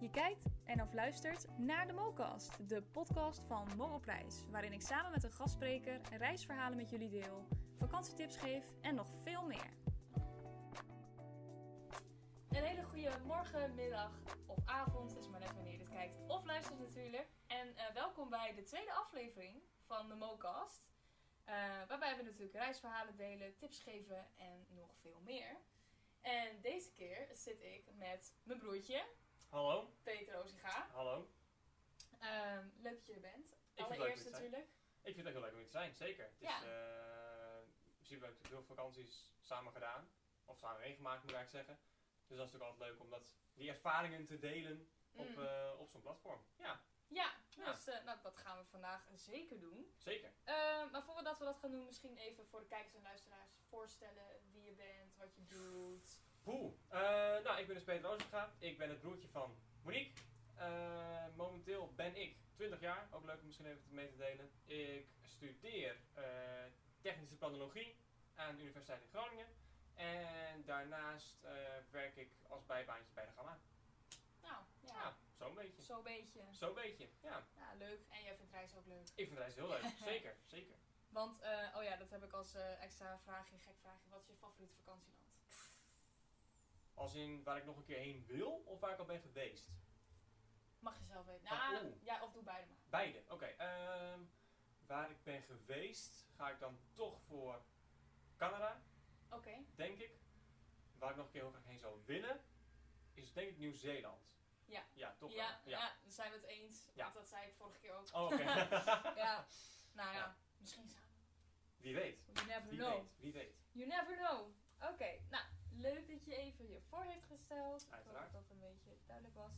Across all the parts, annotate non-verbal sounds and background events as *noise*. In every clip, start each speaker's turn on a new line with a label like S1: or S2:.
S1: Je kijkt en of luistert naar de Mocast, de podcast van Morrelprijs, waarin ik samen met een gastspreker reisverhalen met jullie deel, vakantietips geef en nog veel meer. Een hele goede morgen, middag of avond, het is maar net wanneer je dit kijkt of luistert natuurlijk. En eh, welkom bij de tweede aflevering van de Mocast, eh, waarbij we natuurlijk reisverhalen delen, tips geven en nog veel meer. En deze keer zit ik met mijn broertje,
S2: Hallo,
S1: Peter Ozinga.
S2: hallo.
S1: Ehm, leuk dat je er bent.
S2: het leuk om
S1: Allereerst
S2: hier te zijn.
S1: natuurlijk.
S2: Ik vind het ook heel leuk om hier te zijn, zeker. Het
S1: Ja.
S2: is, eh, in principe heb ik veel vakanties samen gedaan. Of samen meegemaakt, moet ik eigenlijk zeggen. Dus dat is natuurlijk altijd leuk om dat, die ervaringen te delen op,
S1: Mm.
S2: eh, op zo'n platform. Ja,
S1: ja,
S2: Ja.
S1: dus eh, nou, dat gaan we vandaag zeker doen.
S2: zeker.
S1: Ehm, maar voordat we dat gaan doen, misschien even voor de kijkers en luisteraars voorstellen wie je bent, wat je doet.
S2: Hoe? nou, ik ben dus Peter Oosterga. Ik ben het broertje van Monique. Eh, momenteel ben ik 20 jaar. Ook leuk om misschien even mee te delen. Ik studeer eh, technische planologie aan de Universiteit in Groningen. En daarnaast eh, werk ik als bijbaantje bij de Gamma.
S1: Nou, ja.
S2: Ja, zo'n beetje.
S1: Zo'n beetje.
S2: Zo'n beetje, ja.
S1: Nou, leuk. En jij vindt reizen ook leuk.
S2: Ik vind reizen heel leuk. Zeker, zeker.
S1: Want, eh, oh ja, dat heb ik als eh, extra vraagje, gek vraagje. Wat is je favoriete vakantieland?
S2: Als in waar ik nog een keer heen wil of waar ik al ben geweest.
S1: Mag je zelf weten.
S2: Ah,
S1: Nou,
S2: oeh.
S1: ja, of doe beide maar.
S2: Beide, oké. ehm, waar ik ben geweest, ga ik dan toch voor Canada,
S1: Oké.
S2: denk ik. Waar ik nog een keer heel graag heen zou willen, is denk ik Nieuw-Zeeland.
S1: Ja.
S2: Ja, toch wel.
S1: ja, ja. daar zijn we het eens.
S2: Ja.
S1: Want dat zei ik vorige keer
S2: *laughs*
S1: ook.
S2: Oh, oké.
S1: *laughs* Ja, nou ja,
S2: Ja.
S1: misschien samen.
S2: Wie weet.
S1: You never
S2: Wie
S1: know.
S2: weet, wie weet.
S1: You never know. Oké, nou, leuk dat je even je voor heeft gesteld. Ik hoop
S2: Uiteraard.
S1: dat dat een beetje duidelijk was.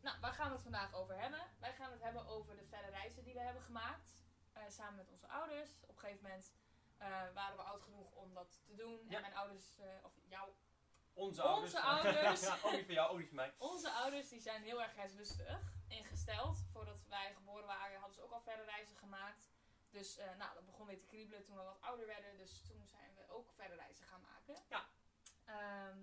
S1: Nou, waar gaan we het vandaag over hebben? Wij gaan het hebben over de verre reizen die we hebben gemaakt. eh, samen met onze ouders. Op een gegeven moment eh, waren we oud genoeg om dat te doen.
S2: Ja.
S1: En mijn ouders, eh, of jouw
S2: Onze
S1: Onze ouders.
S2: ouders. *laughs* ja, ook niet van jou, ook niet van mij.
S1: Onze ouders die zijn heel erg reislustig ingesteld. Voordat wij geboren waren hadden ze ook al verre reizen gemaakt. Dus eh, nou, dat begon weer te kriebelen toen we wat ouder werden. Dus toen zijn we ook verre reizen gaan maken.
S2: Ja.
S1: Ehm,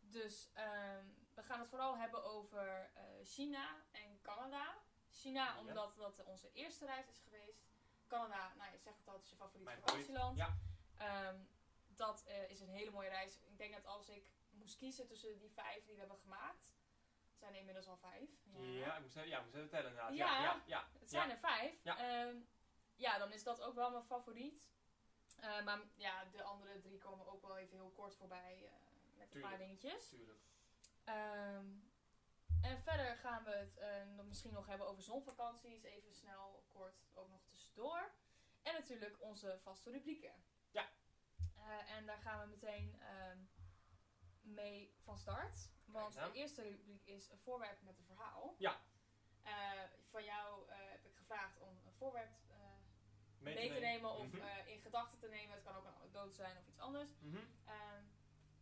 S1: dus ehm, we gaan het vooral hebben over eh, China en Canada. China
S2: Ja.
S1: omdat dat onze eerste reis is geweest. Canada, nou je zegt het al, het is je favoriete
S2: Mijn
S1: vakantieland.
S2: favoriet,
S1: Ehm, dat eh, is een hele mooie reis. Ik denk dat als ik moest kiezen tussen die vijf die we hebben gemaakt, het zijn er inmiddels al vijf.
S2: Ja, ik moest even, ja, ik moest even tellen inderdaad.
S1: Ja.
S2: Ja, ja, ja.
S1: Het zijn er vijf.
S2: Ja.
S1: Ehm, ja, dan is dat ook wel mijn favoriet. Eh, maar ja, de andere drie komen ook wel even heel kort voorbij eh, met een paar
S2: Tuurlijk.
S1: dingetjes.
S2: Tuurlijk.
S1: Ehm, en verder gaan we het eh, nog- misschien nog hebben over zonvakanties. Even snel, kort, ook nog tussendoor. En natuurlijk onze vaste rubrieken.
S2: Ja.
S1: Eh, en daar gaan we meteen ehm, mee van start. Want
S2: eens aan.
S1: de eerste rubriek is een voorwerp met een verhaal.
S2: Ja.
S1: Eh, van jou eh, heb ik gevraagd om een voorwerp eh, mee, te nemen, of
S2: Mhm.
S1: eh, in gedachten te nemen. Het kan ook een anekdote zijn of iets anders.
S2: Mhm.
S1: Ehm,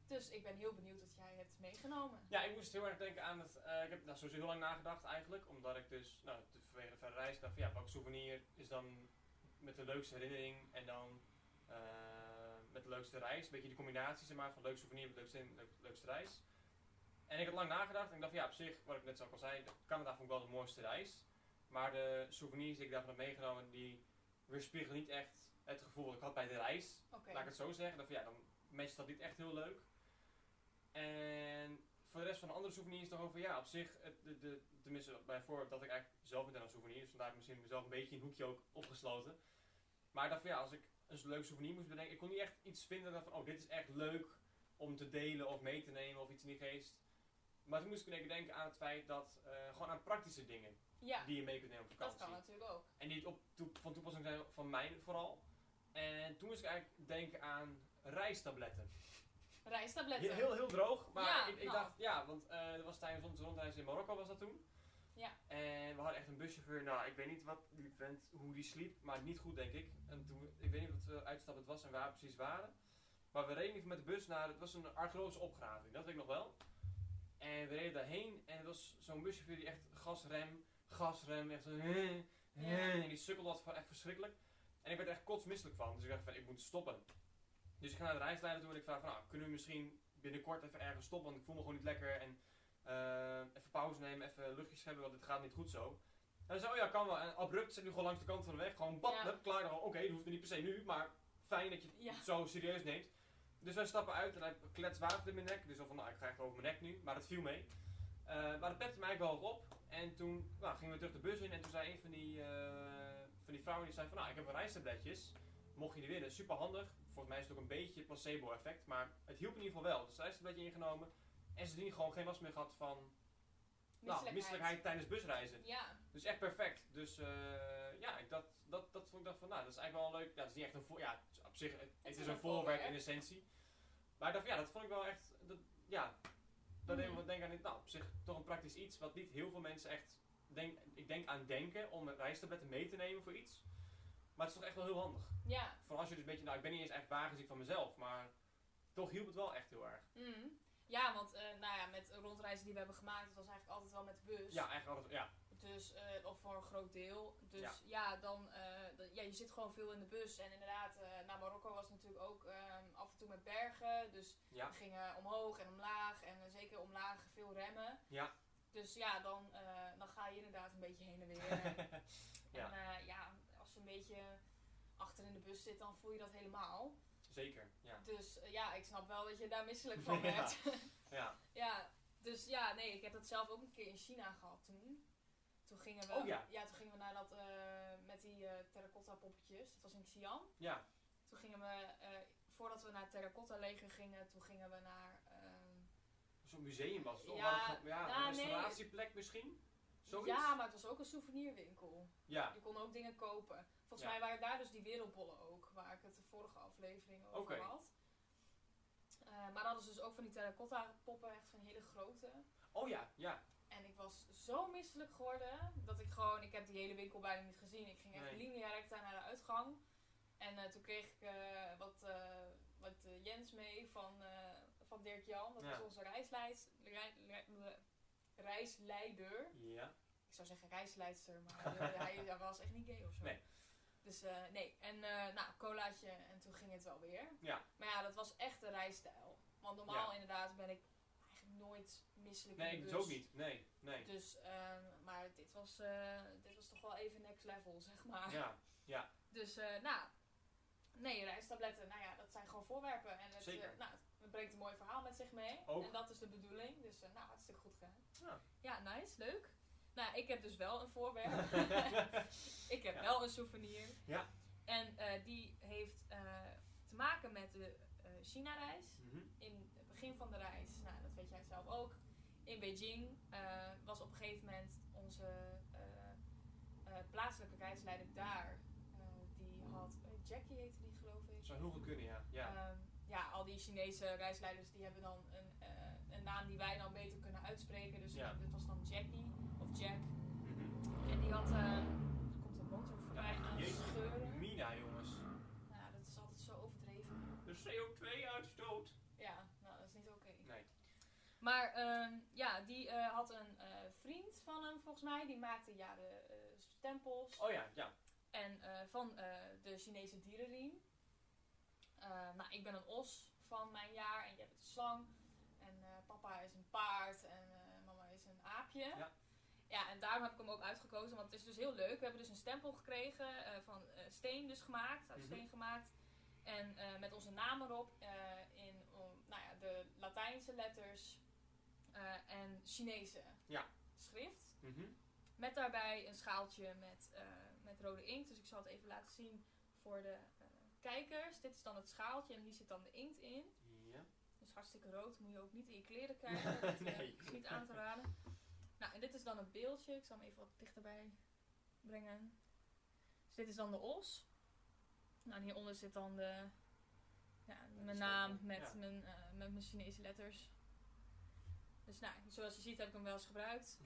S1: dus ik ben heel benieuwd wat jij hebt meegenomen.
S2: Ja, ik moest heel erg denken aan het. eh, ik heb daar sowieso heel lang nagedacht eigenlijk. Omdat ik dus, nou, te- vanwege de verre reis dacht van ja, welk souvenir is dan met de leukste herinnering en dan eh, met de leukste reis. Een beetje die combinatie zeg maar, van leuk souvenir met leukste, leuk, leukste reis. En ik had lang nagedacht en ik dacht van ja, op zich, wat ik net zo al zei, Canada vond ik wel de mooiste reis. Maar de souvenirs die ik daarvan heb meegenomen, die weerspiegelen niet echt het gevoel dat ik had bij de reis.
S1: Oké.
S2: Laat ik het zo zeggen. Dan, van, ja, dan matcht dat niet echt heel leuk. En voor de rest van de andere souvenirs dan over ja, op zich, het, de, de, tenminste bij voorbeeld dat ik eigenlijk zelf niet aan een souvenir, dus vandaar heb ik misschien mezelf een beetje in een hoekje ook opgesloten. Maar ik dacht van ja, als ik een leuk souvenir moest bedenken, ik kon niet echt iets vinden dat van oh, dit is echt leuk om te delen of mee te nemen of iets in die geest. Maar toen moest ik in één keer denken aan het feit dat, eh, gewoon aan praktische dingen
S1: Ja,
S2: die je mee kunt nemen op
S1: dat
S2: vakantie.
S1: kan natuurlijk ook.
S2: En die het op, toe- van toepassing zijn van mij vooral. En toen moest ik eigenlijk denken aan rijstabletten.
S1: Rijstabletten.
S2: Heel, heel, heel droog, maar
S1: Ja,
S2: ik, ik
S1: nou.
S2: dacht, ja, want eh er was tijdens onze rondreis in Marokko was dat toen.
S1: Ja.
S2: En we hadden echt een buschauffeur, nou ik weet niet wat die vent, hoe die sliep, maar niet goed denk ik. En toen, ik weet niet wat we uitstap het was en waar we precies waren. Maar we reden met de bus naar, het was een archeologische opgraving, dat weet ik nog wel. En we reden daarheen en het was zo'n buschauffeur die echt gasrem, gasrem, echt zo... En die sukkel was echt verschrikkelijk. En ik werd er echt kotsmisselijk van, dus ik dacht van ik moet stoppen. Dus ik ga naar de reisleider toe en ik vraag van, nou, kunnen we misschien binnenkort even ergens stoppen, want ik voel me gewoon niet lekker. En eh, even pauze nemen, even luchtjes hebben, want dit gaat niet goed zo. En zo, oh ja, kan wel. En abrupt zit nu gewoon langs de kant van de weg. Gewoon bad,
S1: Ja.
S2: hup, klaar. Oké, dat hoeft er niet per se nu, maar fijn dat je het
S1: Ja.
S2: zo serieus neemt. Dus wij stappen uit en hij klets water in mijn nek. Dus al van, nou, ik ga echt over mijn nek nu. Maar dat viel mee. Eh, maar dat pepte me eigenlijk wel op. En toen nou, gingen we terug de bus in. En toen zei een van die, eh, van die vrouwen, die zei van, nou, ik heb wel reistabletjes. Mocht je die willen, super handig. Volgens mij is het ook een beetje placebo effect. Maar het hielp in ieder geval wel. Dus reistabletje ingenomen. En ze gewoon geen last meer gehad van nou, misselijkheid tijdens busreizen.
S1: Ja,
S2: Dus echt perfect. Dus eh, ja, ik dat, dat, dat vond ik dacht van, nou, dat is eigenlijk wel een leuk. Ja, het is niet echt een voor, ja, het is op zich, het, het is een voorwerp in essentie. Maar ik dacht, ja, dat vond ik wel echt, dat, ja, dat deed me
S1: Mhm.
S2: wat denken aan dit, nou, op zich toch een praktisch iets wat niet heel veel mensen echt, denk, ik denk aan denken om een reistabletten mee te nemen voor iets. Maar het is toch echt wel heel handig.
S1: ja.
S2: Vooral als je dus een beetje, nou, ik ben niet eens echt wagenziek van mezelf, maar toch hielp het wel echt heel erg.
S1: mhm. Ja, want eh, nou ja, met rondreizen die we hebben gemaakt, het was eigenlijk altijd wel met de bus.
S2: Ja, eigenlijk altijd, ja, *laughs*
S1: Dus, eh, of voor een groot deel. Dus
S2: Ja.
S1: ja, dan, eh, dat- ja, je zit gewoon veel in de bus. En inderdaad, eh naar Marokko was het natuurlijk ook ehm, af en toe met bergen. Dus
S2: Ja.
S1: we gingen omhoog en omlaag. En eh, zeker omlaag veel remmen.
S2: Ja.
S1: Dus ja, dan, eh, dan ga je inderdaad een beetje heen en
S2: *laughs*
S1: weer.
S2: Ja.
S1: En eh, ja, als je een beetje achter in de bus zit, dan voel je dat helemaal.
S2: zeker, ja.
S1: Dus eh, ja, ik snap wel dat je daar misselijk
S2: *laughs*
S1: van werd.
S2: ja.
S1: *laughs* Ja, dus ja, nee, ik heb dat zelf ook een keer in China gehad toen. Toen gingen we,
S2: Oh ja.
S1: toen gingen we naar dat eh, met die eh, terracotta poppetjes. Dat was in Xi'an.
S2: Ja,
S1: Toen gingen we, eh, voordat we naar het terracotta leger gingen, toen gingen we naar. ehm,
S2: zo'n museum was het toch?
S1: Ja,
S2: Waar het ge- ja,
S1: nou,
S2: een
S1: nee.
S2: restauratieplek misschien? Zoiets?
S1: ja, maar het was ook een souvenirwinkel.
S2: Ja,
S1: Je kon ook dingen kopen. Volgens
S2: Ja.
S1: mij waren daar dus die wereldbollen ook, waar ik het de vorige aflevering over
S2: Oké.
S1: had. Eh, maar dan hadden ze dus ook van die terracotta poppen, echt van die hele grote.
S2: Oh ja, ja.
S1: En ik was zo misselijk geworden dat ik gewoon, ik heb die hele winkel bijna niet gezien. Ik ging echt
S2: Nee.
S1: linea recta naar de uitgang. En eh, toen kreeg ik eh, wat, eh, wat eh, Jens mee van, eh, van Dirk Jan. Dat
S2: Ja.
S1: was onze reisleids, rei- rei- bleh, reisleider.
S2: Ja.
S1: Ik zou zeggen reisleidster, maar hij, wilde- hij,
S2: *laughs*
S1: hij was echt niet gay of zo.
S2: Nee.
S1: Dus eh, nee, en eh nou, colaatje en toen ging het wel weer.
S2: Ja.
S1: Maar ja, dat was echt een reisstijl. Want normaal inderdaad ben ik eigenlijk nooit misselijk
S2: Nee,
S1: in
S2: ik
S1: de
S2: dus
S1: bus.
S2: ook niet. Nee, nee.
S1: Dus, ehm, maar dit was, eh, dit was toch wel even next level, zeg maar. *laughs*
S2: Ja,
S1: Dus, eh, nou, nee, reistabletten, nou ja, dat zijn gewoon voorwerpen. En het,
S2: Zeker.
S1: eh, nou, het brengt een mooi verhaal met zich mee.
S2: Ook.
S1: En dat is de bedoeling. Dus, eh, nou, hartstikke goed gedaan.
S2: Ja.
S1: nice, leuk. Nou, ik heb dus wel een
S2: *laughs*
S1: voorwerp. *laughs* ik heb
S2: Ja.
S1: wel een souvenir.
S2: Ja.
S1: En eh, die heeft eh, te maken met de eh, China-reis
S2: Mhm.
S1: in het begin van de reis, nou, dat weet jij zelf ook, in Beijing eh, was op een gegeven moment onze eh, eh, plaatselijke reisleider daar. eh, die had, eh, Jackie heette die geloof ik.
S2: Zou heel goed kunnen, ja. Ja,
S1: Ehm, ja, al die Chinese reisleiders die hebben dan een, eh, een naam die wij dan beter kunnen uitspreken. Dus
S2: Ja.
S1: dit was dan Jackie of Jack.
S2: Mhm.
S1: En die had, eh, er komt een motor voorbij aan
S2: jeetje.
S1: scheuren.
S2: Mhm. Mina, jongens.
S1: Nou, ja, dat is altijd zo overdreven.
S2: De CO2-uitstoot.
S1: Ja, nou dat is niet oké.
S2: Nee.
S1: Maar ehm, ja, die eh, had een eh, vriend van hem volgens mij. Die maakte ja, de eh, stempels
S2: Oh ja, ja.
S1: en, eh, van eh, de Chinese dierenriem. Eh, nou, ik ben een os van mijn jaar en jij bent een slang. En eh, papa is een paard en eh, mama is een aapje.
S2: Ja.
S1: Ja, en daarom heb ik hem ook uitgekozen, want het is dus heel leuk. We hebben dus een stempel gekregen eh, van eh, steen dus gemaakt, uit
S2: Mhm.
S1: steen gemaakt. En eh, met onze naam erop eh, in om, nou ja, de Latijnse letters eh, en Chinese
S2: Ja.
S1: schrift.
S2: Mhm.
S1: Met daarbij een schaaltje met, eh, met rode inkt. Dus ik zal het even laten zien voor de eh, kijkers. Dit is dan het schaaltje en hier zit dan de inkt in.
S2: Ja.
S1: Dus hartstikke rood. Moet je ook niet in je kleren
S2: *laughs*
S1: krijgen. Dat eh,
S2: Nee.
S1: is niet aan te raden. Nou, en dit is dan het beeldje. Ik zal hem even wat dichterbij brengen. Dus dit is dan de os. Nou, en hieronder zit dan de, ja, mijn naam
S2: stempel,
S1: met,
S2: ja.
S1: mijn, eh, met mijn Chinese letters. Dus nou, zoals je ziet heb ik hem wel eens
S2: *laughs*
S1: gebruikt.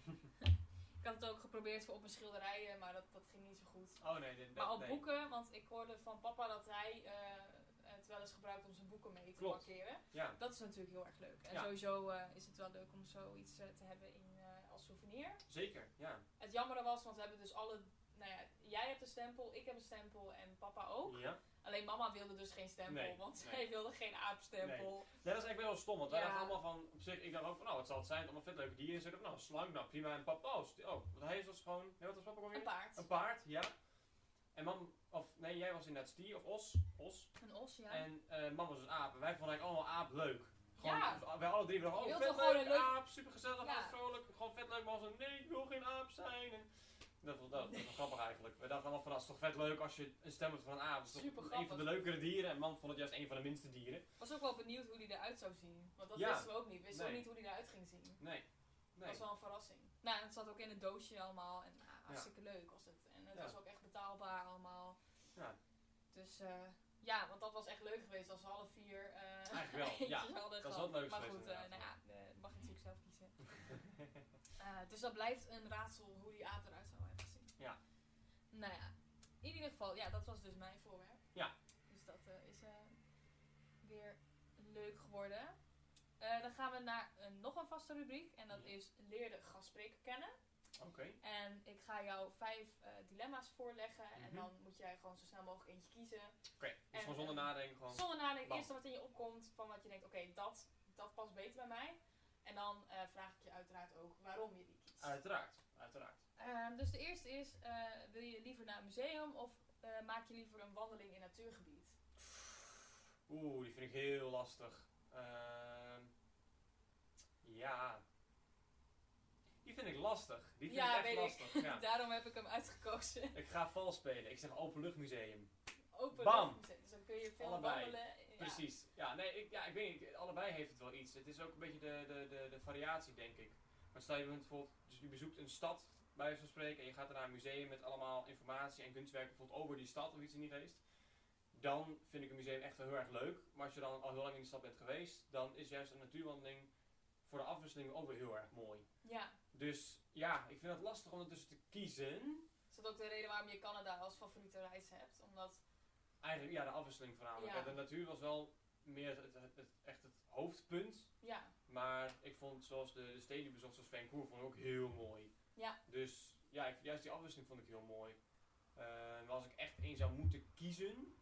S1: ik had het ook geprobeerd voor op mijn schilderijen, maar dat, dat ging niet zo goed.
S2: Oh nee, dit,
S1: Maar
S2: dat-
S1: op
S2: nee.
S1: boeken, want ik hoorde van papa dat hij eh, het wel eens gebruikt om zijn boeken mee te
S2: Klopt.
S1: markeren.
S2: Ja,
S1: Dat is natuurlijk heel erg leuk. En
S2: Ja.
S1: sowieso eh, is het wel leuk om zoiets eh, te hebben in, eh, als souvenir.
S2: zeker. Ja.
S1: Het jammere was, want we hebben dus alle nou ja, jij hebt een stempel, ik heb een stempel en papa ook.
S2: Ja.
S1: Alleen mama wilde dus geen stempel,
S2: Nee,
S1: want
S2: nee.
S1: zij wilde geen aapstempel.
S2: Nee, dat is eigenlijk wel stom, want wij
S1: Ja.
S2: dachten allemaal van, op zich, ik dacht ook van, nou, wat zal het zijn, allemaal vet leuke dieren in zitten. Nou, een slang, nou prima, en papa, oh, st- oh want hij is dus gewoon, nee, wat was papa ook
S1: Een
S2: alweer?
S1: paard.
S2: Een paard, ja. En mam, of nee, jij was inderdaad stier, of os, os.
S1: Een os, ja.
S2: En eh mam was een aap, en wij vonden eigenlijk allemaal aap leuk. Gewoon,
S1: Ja.
S2: dus wij alle drie waren,
S1: Je
S2: oh,
S1: wilt
S2: vet
S1: toch gewoon
S2: leuk,
S1: een leuk-
S2: aap, supergezellig,
S1: Ja.
S2: alles vrolijk, gewoon vet leuk, maar zo, nee, ik wil geen aap zijn. En dat was, dat, was wel grappig eigenlijk. We dachten allemaal van, dat is toch vet leuk als je een stem hebt van een aap. Dat is toch
S1: Super
S2: een
S1: grappig.
S2: van de leukere dieren, en mam vond het juist een van de minste dieren.
S1: was ook wel benieuwd hoe die eruit zou zien. Want dat
S2: Ja.
S1: wisten we ook niet. We wisten
S2: Nee.
S1: ook niet hoe die eruit ging zien.
S2: Nee,
S1: Dat
S2: nee. *laughs*
S1: was wel een verrassing. Nou, en het zat ook in een doosje allemaal. En ah, hartstikke leuk was het. En het
S2: Ja.
S1: was ook echt betaalbaar allemaal.
S2: Ja.
S1: Dus eh, ja, want dat was echt leuk geweest als we alle vier eh
S2: Eigenlijk
S1: *laughs*
S2: wel,
S1: eentjes
S2: ja.
S1: hadden
S2: was
S1: gehad.
S2: wel leuk
S1: Maar
S2: geweest
S1: goed, eh, nou ja,
S2: inderdaad.
S1: eh, mag je natuurlijk zelf kiezen. Eh, dus dat blijft een raadsel hoe die aap eruit zou hebben gezien.
S2: Ja.
S1: Nou ja, in ieder geval, ja, dat was dus mijn voorwerp.
S2: Ja.
S1: Dus dat eh, is eh, weer leuk geworden. Eh, dan gaan we naar een, nog een vaste rubriek en dat
S2: Ja.
S1: is leer de gastspreker kennen.
S2: Oké.
S1: En ik ga jou vijf eh, dilemma's voorleggen en
S2: Mhm.
S1: dan moet jij gewoon zo snel mogelijk eentje kiezen.
S2: Oké,
S1: En,
S2: dus gewoon zonder
S1: eh,
S2: nadenken gewoon.
S1: Zonder nadenken,
S2: bam.
S1: eerst wat in je opkomt van wat je denkt, oké, dat, dat past beter bij mij. En dan eh, vraag ik je uiteraard ook waarom je die kiest.
S2: Uiteraard, uiteraard.
S1: Ehm, dus de eerste is, eh, wil je liever naar een museum of eh, maak je liever een wandeling in natuurgebied?
S2: Oeh, die vind ik heel lastig. Ehm, ja. Die vind ik lastig. Die vind
S1: Ja,
S2: ik echt
S1: weet ik.
S2: lastig.
S1: *laughs*
S2: Ja.
S1: Daarom heb ik hem uitgekozen. *laughs*
S2: Ik ga vals spelen. Ik zeg openluchtmuseum.
S1: Open
S2: Bam!
S1: luchtmuseum. Dus dan kun je veel
S2: Allebei.
S1: wandelen. Ja.
S2: Precies. Ja, nee, ik, ja, ik weet niet. Allebei heeft het wel iets. Het is ook een beetje de, de, de, de variatie, denk ik. Maar stel je bent bijvoorbeeld, dus je bezoekt een stad, bij wijze van spreken, en je gaat naar een museum met allemaal informatie en kunstwerken bijvoorbeeld over die stad of iets in die geest. Dan vind ik een museum echt wel heel erg leuk. Maar als je dan al heel lang in die stad bent geweest, dan is juist een natuurwandeling voor de afwisseling ook weer heel erg mooi.
S1: Ja.
S2: Dus ja, ik vind het lastig om ertussen te kiezen.
S1: Is dat ook de reden waarom je Canada als favoriete reis hebt? Omdat,
S2: Eigenlijk ja, de afwisseling voornamelijk.
S1: Ja.
S2: De natuur was wel meer het, het, het- echt het hoofdpunt.
S1: ja.
S2: Maar ik vond zoals de, de steden die ik bezocht, zoals Vancouver, vond ik ook heel mooi.
S1: Ja.
S2: Dus ja, ik, juist die afwisseling vond ik heel mooi. Eh, maar als ik echt één zou moeten kiezen,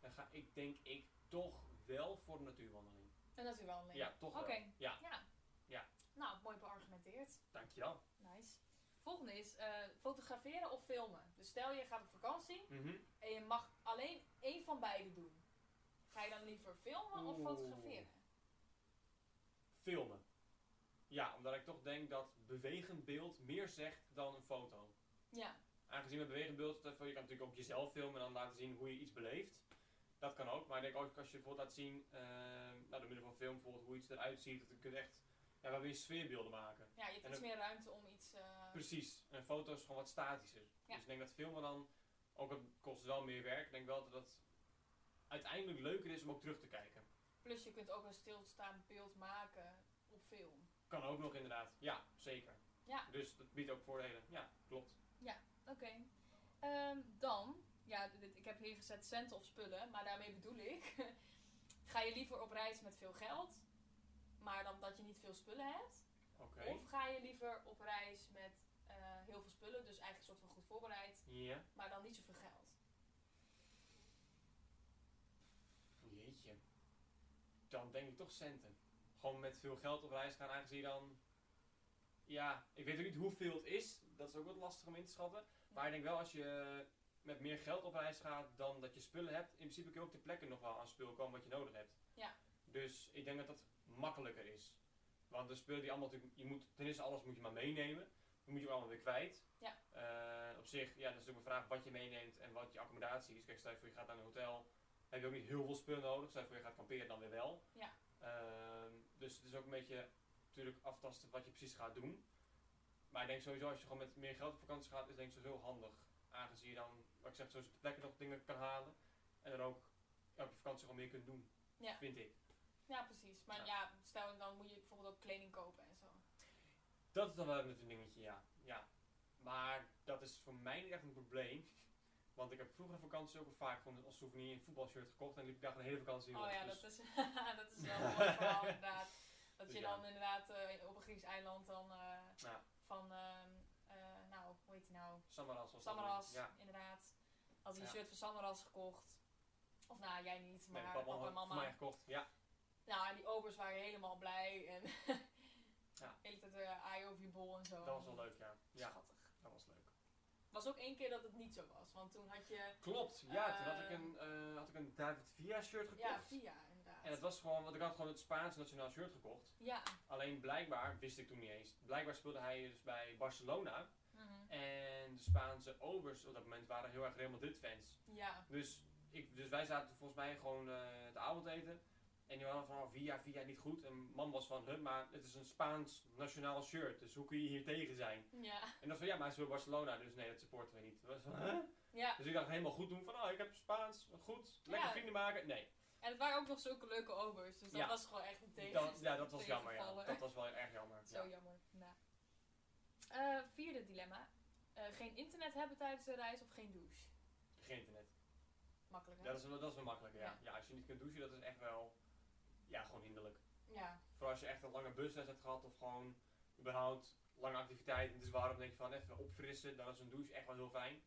S2: dan ga ik denk ik toch wel voor de natuurwandeling.
S1: En dat is wel een
S2: Ja, toch
S1: Oké.
S2: wel. Ja,
S1: ja.
S2: Ja.
S1: Nou, mooi beargumenteerd.
S2: dankjewel.
S1: Nice. Volgende is eh, fotograferen of filmen. Dus stel je gaat op vakantie
S2: Mhm.
S1: en je mag alleen één van beide doen. Ga je dan liever filmen of
S2: Oeh.
S1: fotograferen?
S2: Filmen. Ja, omdat ik toch denk dat bewegend beeld meer zegt dan een foto.
S1: Ja.
S2: Aangezien met bewegend beeld, dat- je kan natuurlijk ook jezelf filmen en dan laten zien hoe je iets beleeft. Dat kan ook, maar ik denk ook als je bijvoorbeeld laat zien, ehm nou, door middel van film bijvoorbeeld, hoe iets eruit ziet, dat je kunt echt, ja, waar wil je sfeerbeelden maken.
S1: Ja, je hebt
S2: En
S1: iets
S2: ook-
S1: meer ruimte om iets. eh,
S2: Precies, en foto's is gewoon wat statischer.
S1: Ja.
S2: Dus ik denk dat filmen dan, ook het kost wel meer werk, ik denk wel dat het uiteindelijk leuker is om ook terug te kijken.
S1: plus je kunt ook een stilstaand beeld maken op film.
S2: Kan ook nog inderdaad, ja, zeker.
S1: Ja.
S2: Dus dat biedt ook voordelen, ja, klopt.
S1: Oké. Ehm, dan, ja, dit, ik heb hier gezet centen of spullen, maar daarmee bedoel ik. *laughs* ga je liever op reis met veel geld, maar dan dat je niet veel spullen hebt?
S2: Oké.
S1: Of ga je liever op reis met eh, heel veel spullen, dus eigenlijk een soort van goed voorbereid,
S2: Ja.
S1: maar dan niet zoveel geld?
S2: Jeetje. Dan denk ik toch centen. Gewoon met veel geld op reis gaan, aangezien je dan. Ja, ik weet ook niet hoeveel het is. Dat is ook wat lastig om in te schatten. Maar ik denk wel als je met meer geld op reis gaat dan dat je spullen hebt, in principe kun je ook ter plekke nog wel aan spul komen wat je nodig hebt.
S1: Ja.
S2: Dus ik denk dat dat makkelijker is. Want de spullen die allemaal, natuurlijk- je moet, ten eerste alles moet je maar meenemen. Dan moet je ook allemaal weer kwijt.
S1: Ja.
S2: Eh, op zich, ja, dat is natuurlijk een vraag wat je meeneemt en wat je accommodatie is. Kijk, stel je voor je gaat naar een hotel, heb je ook niet heel veel spullen nodig. Stel je voor je gaat kamperen, dan weer wel.
S1: Ja.
S2: Ehm, dus het is ook een beetje natuurlijk aftasten wat je precies gaat doen. Maar ik denk sowieso als je gewoon met meer geld op vakantie gaat, is denk ik sowieso heel handig. Aangezien je dan, wat ik zeg, zo plekken nog dingen kan halen. En dan ook ja, op je vakantie gewoon meer kunt doen.
S1: Ja.
S2: Vind ik.
S1: Ja, precies. Maar
S2: Ja.
S1: ja, stel dan moet je bijvoorbeeld ook kleding kopen en zo.
S2: Dat is dan wel net een dingetje, ja. ja. Maar dat is voor mij niet echt een probleem. Want ik heb vroeger op vakantie ook al vaak gewoon als souvenir een voetbalshirt gekocht. En liep ik daar gewoon de hele vakantie in
S1: Oh
S2: rond.
S1: ja,
S2: Dus
S1: dat is, *laughs* dat is wel een mooi verhaal inderdaad. Dat
S2: Dus
S1: je
S2: ja.
S1: dan inderdaad eh, op een Grieks eiland dan eh,
S2: Ja.
S1: van, ehm, eh, nou, hoe heet die nou?
S2: Samaras was dat
S1: Samaras,
S2: niet. Ja.
S1: inderdaad. Had hij een
S2: Ja.
S1: shirt van Samaras gekocht. Of nou, jij niet, maar
S2: nee,
S1: papa,
S2: papa had
S1: en
S2: het voor mij
S1: mama.
S2: gekocht. Ja.
S1: Nou, en die obers waren helemaal blij. En
S2: Ja.
S1: de *laughs* hele tijd eh aai over je bol en zo.
S2: Dat was wel leuk, ja. Ja,
S1: Schattig.
S2: dat was leuk.
S1: was ook één keer dat het niet zo was. Want toen had je...
S2: Klopt, ja. toen had ik
S1: Eh,
S2: een, eh, had ik een David Villa shirt gekocht.
S1: Ja, Via inderdaad.
S2: En het was gewoon, want ik had gewoon het Spaans nationaal shirt gekocht.
S1: Ja.
S2: Alleen blijkbaar, wist ik toen niet eens, blijkbaar speelde hij dus bij Barcelona.
S1: Mhm.
S2: En de Spaanse obers op dat moment waren heel erg Real Madrid fans.
S1: Ja.
S2: Dus, ik, dus wij zaten volgens mij gewoon eh het avondeten. En die waren van, oh, via, via, niet goed. En man was van, huh, maar het is een Spaans nationaal shirt. Dus hoe kun je hier tegen zijn?
S1: Ja.
S2: En dan van, ja, maar ze wil Barcelona. Dus nee, dat supporten we niet. Dat was van, huh?
S1: Ja.
S2: Dus ik dacht helemaal goed doen van, oh, ik heb Spaans. Goed, lekker
S1: Ja.
S2: vrienden maken. Nee,
S1: En het waren ook nog zulke leuke obers. Dus dat
S2: Ja.
S1: was gewoon echt een tegen.
S2: dat, ja, dat was jammer. Ja.
S1: tegenvaller.
S2: Dat was wel erg
S1: *laughs*
S2: jammer.
S1: Zo
S2: Ja.
S1: jammer. Nou. Eh, vierde dilemma. Eh, geen internet hebben tijdens de reis of geen douche.
S2: Geen internet.
S1: Makkelijk, hè?
S2: Ja, dat, is wel, dat is wel makkelijker, ja.
S1: Ja.
S2: ja. Als je niet kunt douchen, dat is echt wel, ja, gewoon hinderlijk.
S1: Ja.
S2: Vooral als je echt een lange busles hebt gehad of gewoon überhaupt lange activiteit. Het is warm, denk je van even opfrissen, dan is een douche echt wel heel fijn.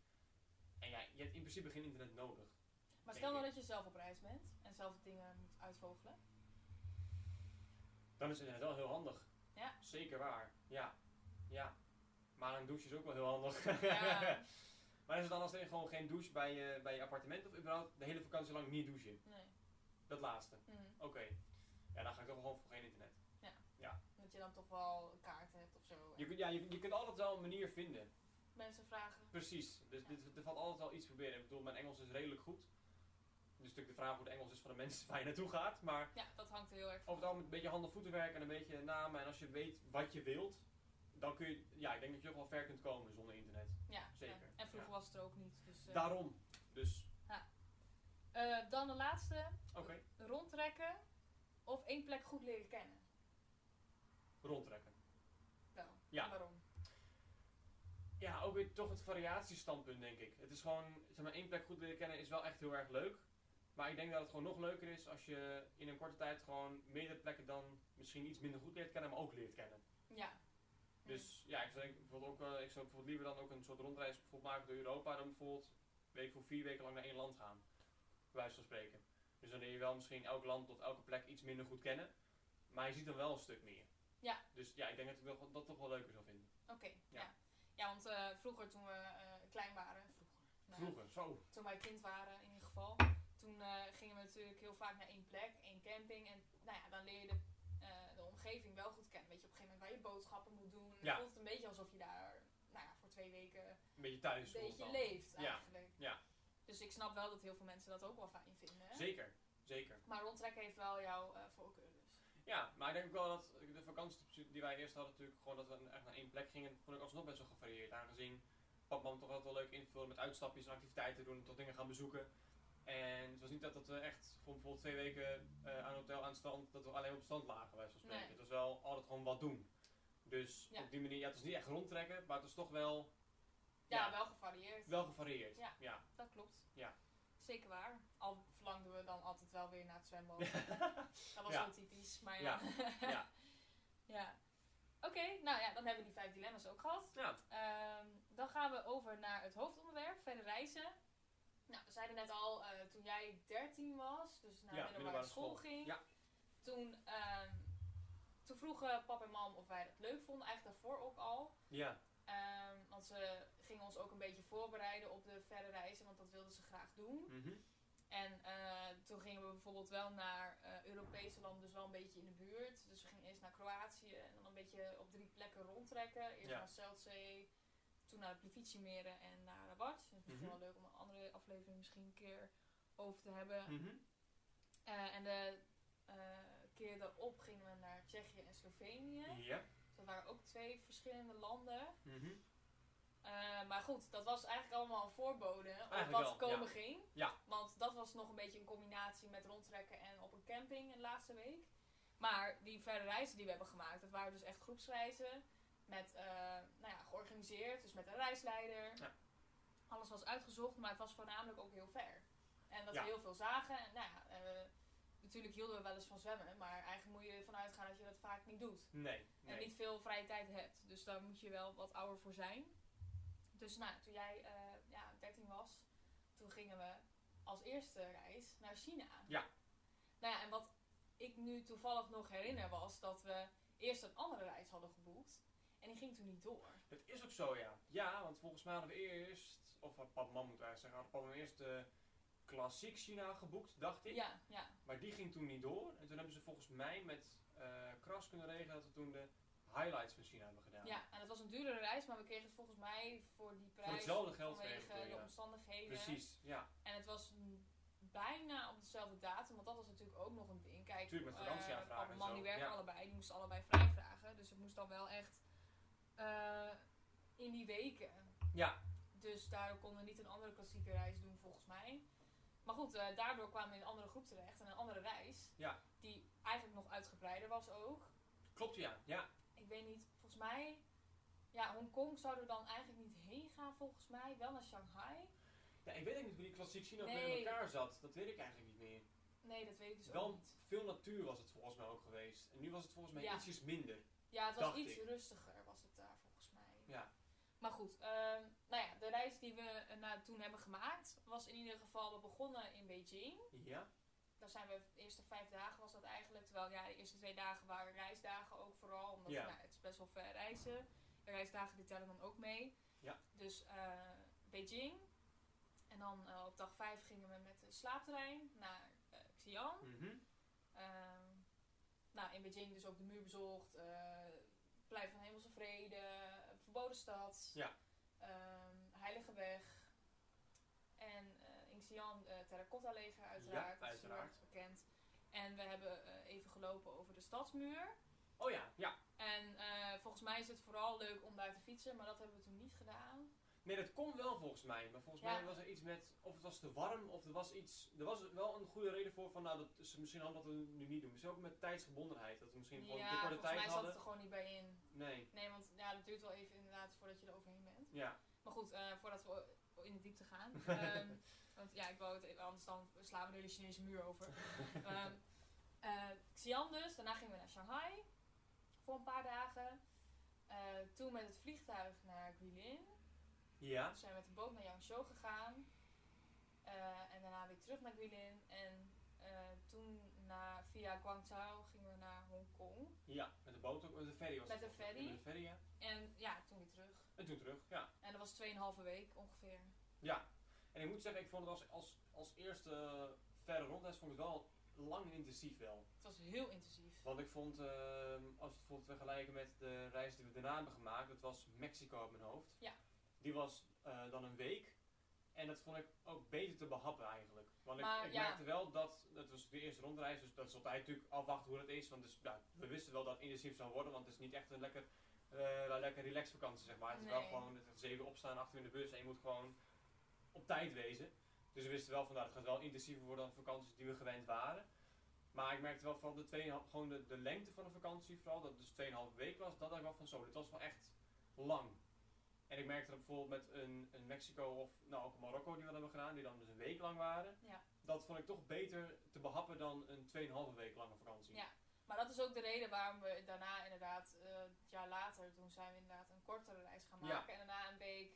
S2: En ja, je hebt in principe geen internet nodig.
S1: Maar
S2: Denk
S1: stel nou
S2: ik.
S1: dat je zelf op reis bent en zelf dingen moet uitvogelen.
S2: Dan is internet wel heel handig.
S1: Ja.
S2: Zeker waar. Ja. Ja. Maar een douche is ook wel heel handig.
S1: Ja.
S2: *laughs* maar is het dan als er gewoon geen douche bij je, bij je appartement of überhaupt de hele vakantie lang niet douchen?
S1: Nee.
S2: Dat laatste.
S1: Mm.
S2: Oké. Ja, dan ga ik toch gewoon voor geen internet.
S1: Dat je dan toch wel kaarten hebt of zo.
S2: Je kunt, ja, je, je kunt altijd wel een manier vinden.
S1: Mensen vragen.
S2: Precies, dus
S1: Ja.
S2: dit, er valt altijd wel iets te proberen. Ik bedoel, mijn Engels is redelijk goed. Dus natuurlijk de vraag hoe het Engels is van de mensen *laughs* waar je naartoe gaat. Maar
S1: Ja, dat hangt er heel erg van.
S2: over het algemeen een beetje handen-voetenwerk en een beetje namen. En als je weet wat je wilt, dan kun je, ja, ik denk dat je ook wel ver kunt komen zonder internet.
S1: Ja,
S2: Zeker,
S1: ja. En vroeger was het er ook niet. Dus, eh.
S2: Daarom. Dus,
S1: Eh, dan de laatste.
S2: oké,
S1: Rondtrekken of één plek goed leren kennen.
S2: rondtrekken.
S1: Wel.
S2: Ja.
S1: en Waarom?
S2: Ja, ook weer toch het variatiestandpunt, denk ik. Het is gewoon, zeg maar, één plek goed leren kennen is wel echt heel erg leuk. Maar ik denk dat het gewoon nog leuker is als je in een korte tijd gewoon meerdere plekken dan misschien iets minder goed leert kennen, maar ook leert kennen.
S1: Ja.
S2: Dus ja, ik zou, denk, bijvoorbeeld ook, eh, ik zou bijvoorbeeld liever dan ook een soort rondreis bijvoorbeeld maken door Europa. Dan bijvoorbeeld weet ik, voor vier weken lang naar één land gaan. Bij wijze van spreken. Dus dan leer je wel misschien elk land of elke plek iets minder goed kennen. Maar je ziet dan wel een stuk meer.
S1: Ja.
S2: Dus ja, ik denk dat ik dat, dat toch wel leuker zou vinden.
S1: Oké. ja.
S2: Ja.
S1: ja. want eh, vroeger toen we eh, klein waren. Vroeger. Nou,
S2: Vroeger, zo.
S1: toen wij kind waren in ieder geval. Toen eh, gingen we natuurlijk heel vaak naar één plek, één camping. En nou ja, dan leer je de, eh, de omgeving wel goed kennen. Weet je op een gegeven moment waar je boodschappen moet doen. En
S2: Ja.
S1: Dan voelt het een beetje alsof je daar nou ja, voor twee weken
S2: Een beetje thuis.
S1: een
S2: voelt
S1: beetje
S2: dan.
S1: leeft
S2: Ja,
S1: eigenlijk.
S2: ja.
S1: Dus ik snap wel dat heel veel mensen dat ook wel fijn vinden. hè?
S2: Zeker, zeker.
S1: Maar rondtrekken heeft wel jouw eh, voorkeur dus.
S2: Ja, maar ik denk ook wel dat de vakantie die wij eerst hadden, natuurlijk gewoon dat we echt naar één plek gingen, vond ik alsnog best wel gevarieerd. Aangezien pap mam toch altijd wel leuk invullen met uitstapjes en activiteiten doen, tot dingen gaan bezoeken. En het was niet dat, dat we echt voor bijvoorbeeld twee weken eh, aan een hotel aan het strand, dat we alleen op het strand lagen, bij wijze van spreken.
S1: Nee.
S2: Het was wel altijd gewoon wat doen. Dus
S1: Ja.
S2: op die manier, ja, het is niet echt rondtrekken, maar het is toch wel,
S1: Ja,
S2: Ja.
S1: wel gevarieerd.
S2: wel gevarieerd.
S1: Ja.
S2: ja.
S1: Dat klopt.
S2: Ja.
S1: Zeker waar. Al verlangden we dan altijd wel weer naar het zwembad.
S2: *laughs*
S1: dat was
S2: Ja.
S1: heel typisch, maar ja.
S2: Ja.
S1: *laughs* Ja. Oké, nou ja, dan hebben we die vijf dilemma's ook gehad.
S2: Ja.
S1: Ehm, dan gaan we over naar het hoofdonderwerp, verder reizen. Nou, we zeiden net al, eh, toen jij 13 was, dus naar
S2: Ja,
S1: middelbare,
S2: middelbare
S1: school,
S2: school.
S1: ging.
S2: Ja.
S1: Toen, ehm, toen vroegen pap en mam of wij dat leuk vonden, eigenlijk daarvoor ook al.
S2: ja.
S1: Ehm, want ze gingen ons ook een beetje voorbereiden op de verre reizen, want dat wilden ze graag doen.
S2: Mhm.
S1: En eh, toen gingen we bijvoorbeeld wel naar eh, Europese landen, dus wel een beetje in de buurt. Dus we gingen eerst naar Kroatië en dan een beetje op drie plekken rondtrekken. Eerst
S2: Ja.
S1: naar Zeldzee, toen naar de Plevitsjemeren en naar Rabat. Dus het is
S2: Mhm.
S1: wel leuk om een andere aflevering misschien een keer over te hebben.
S2: Mhm.
S1: Eh, en de eh, keer daarop gingen we naar Tsjechië en Slovenië.
S2: Ja.
S1: Dus dat waren ook twee verschillende landen.
S2: Mhm.
S1: Eh, maar goed, dat was eigenlijk allemaal een voorbode op
S2: Eigenlijk
S1: wat
S2: wel,
S1: komen
S2: ja.
S1: ging.
S2: Ja.
S1: Want dat was nog een beetje een combinatie met rondtrekken en op een camping de laatste week. Maar die verre reizen die we hebben gemaakt, dat waren dus echt groepsreizen. Met, eh, nou ja, georganiseerd, dus met een reisleider.
S2: Ja.
S1: Alles was uitgezocht, maar het was voornamelijk ook heel ver. En dat
S2: Ja.
S1: we heel veel zagen. En, nou ja, eh, natuurlijk hielden we wel eens van zwemmen, maar eigenlijk moet je ervan uitgaan dat je dat vaak niet doet
S2: Nee. nee.
S1: en niet veel vrije tijd hebt. Dus daar moet je wel wat ouder voor zijn. Dus nou, toen jij eh, ja, 13 was, toen gingen we als eerste reis naar China.
S2: Ja.
S1: Nou ja, en wat ik nu toevallig nog herinner was dat we eerst een andere reis hadden geboekt. En die ging toen niet door.
S2: Het is ook zo, ja. Ja, want volgens mij hadden we eerst, of had pap en mam moet eigenlijk zeggen, had pap en mam eerst de klassiek China geboekt, dacht ik.
S1: Ja, ja.
S2: Maar die ging toen niet door. En toen hebben ze volgens mij met eh Kras kunnen regelen dat we toen de highlights van China hebben gedaan.
S1: Ja, en dat was een duurdere reis, maar we kregen het volgens mij voor die prijs.
S2: hetzelfde geld
S1: vanwege
S2: kregen we,
S1: de
S2: ja.
S1: omstandigheden.
S2: Precies, ja.
S1: En het was mm, bijna op dezelfde datum, want dat was natuurlijk ook nog een ding. Kijk,
S2: Tuurlijk, met vakantieaanvragen
S1: eh, pap en
S2: en
S1: man
S2: zo,
S1: die werken
S2: ja.
S1: allebei, die moesten allebei vrij vragen. Dus het moest dan wel echt eh, in die weken.
S2: Ja.
S1: Dus daardoor konden we niet een andere klassieke reis doen, volgens mij. Maar goed, eh, daardoor kwamen we in een andere groep terecht en een andere reis.
S2: Ja.
S1: Die eigenlijk nog uitgebreider was ook
S2: Klopt, ja. Ja,
S1: ik weet niet, volgens mij, ja, Hongkong zouden we dan eigenlijk niet heen gaan, volgens mij. Wel naar Shanghai.
S2: Ja, ik weet ook niet hoe die klassiek China ook
S1: Nee.
S2: met elkaar zat. Dat weet ik eigenlijk niet meer.
S1: Nee, dat weet ik dus ook
S2: Wel
S1: niet.
S2: veel natuur was het volgens mij ook geweest. En nu was het volgens mij
S1: Ja.
S2: ietsjes minder.
S1: Ja, het was
S2: dacht
S1: iets
S2: ik.
S1: rustiger, was het daar volgens mij.
S2: Ja.
S1: Maar goed, ehm, nou ja, de reis die we eh, na, toen hebben gemaakt was in ieder geval, we begonnen in Beijing.
S2: Ja?
S1: Daar zijn we, de eerste vijf dagen was dat eigenlijk. Terwijl ja, de eerste twee dagen waren reisdagen ook vooral. Omdat
S2: Ja.
S1: nou, het is best wel ver reizen. De reisdagen die tellen dan ook mee.
S2: Ja.
S1: Dus eh, Beijing. En dan eh, op dag vijf gingen we met de slaaptrein naar eh, Xi'an.
S2: Mhm.
S1: Ehm, nou, in Beijing dus ook de muur bezocht. eh Plein van Hemelse Vrede. Verboden stad.
S2: Ja.
S1: ehm, Heilige Weg. En eh in Xi'an eh, Terracotta leger uiteraard.
S2: Ja,
S1: Dat is heel
S2: uiteraard.
S1: erg bekend. En we hebben eh, even gelopen over de stadsmuur.
S2: Oh ja, ja.
S1: En eh, volgens mij is het vooral leuk om daar te fietsen, maar dat hebben we toen niet gedaan.
S2: Nee, dat kon wel volgens mij. Maar volgens
S1: Ja.
S2: mij was er iets met, of het was te warm, of er was iets... Er was wel een goede reden voor van, nou, dat is misschien handig dat we het nu niet doen. Misschien ook met tijdsgebondenheid. Dat we misschien gewoon te
S1: ja,
S2: korte
S1: volgens
S2: tijd
S1: mij zat
S2: hadden.
S1: het er gewoon niet bij in.
S2: Nee,
S1: Nee, want ja, dat duurt wel even inderdaad voordat je er overheen bent.
S2: ja.
S1: Maar goed, eh, voordat we o- in de diepte gaan. ehm, want ja, ik wou het even, anders dan slaan we de hele Chinese muur over. Ehm eh, Xi'an dus, daarna gingen we naar Shanghai voor een paar dagen. Eh, toen met het vliegtuig naar Guilin.
S2: Ja.
S1: Toen zijn we met de boot naar Yangzhou gegaan. Eh, en daarna weer terug naar Guilin. En eh, toen na, via Guangzhou gingen we naar Hongkong.
S2: Ja, met de boot ook. Met de ferry was
S1: Met
S2: het
S1: de
S2: volgens mij.
S1: ferry.
S2: Met de ferry, ja.
S1: En ja, toen weer terug.
S2: En toen terug, ja.
S1: En dat was 2,5 week ongeveer.
S2: Ja, en ik moet zeggen, ik vond het als, als, als eerste verre rondreis vond ik het wel lang en intensief wel.
S1: Het was heel intensief.
S2: Want ik vond, ehm, als we het bijvoorbeeld vergelijken met de reis die we daarna hebben gemaakt, dat was Mexico op mijn hoofd.
S1: Ja.
S2: Die was eh, dan een week. En dat vond ik ook beter te behappen eigenlijk. Want ik,
S1: Maar
S2: ik
S1: ja.
S2: merkte wel dat, dat was de eerste rondreis, dus dat is altijd natuurlijk afwachten hoe dat is. Want dus, ja, we wisten wel dat het intensief zou worden, want het is niet echt een lekker, eh lekker relaxed vakantie zeg maar. Het is wel
S1: Nee.
S2: gewoon het zeven opstaan, achter in de bus en je moet gewoon op tijd wezen. Dus we wisten wel van, nou, het gaat wel intensiever worden dan vakanties die we gewend waren. Maar ik merkte wel van de, twee, gewoon de, de lengte van de vakantie, vooral dat het dus 2,5 week was, dat dacht ik wel van zo, dit was wel echt lang. En ik merkte dat bijvoorbeeld met een, een Mexico of nou ook een Marokko die we hebben gedaan, die dan dus een week lang waren.
S1: Ja.
S2: Dat vond ik toch beter te behappen dan een 2,5 week lange vakantie.
S1: Ja. Maar dat is ook de reden waarom we daarna inderdaad, eh, het jaar later, toen zijn we inderdaad een kortere reis gaan
S2: Ja.
S1: maken. En daarna een week,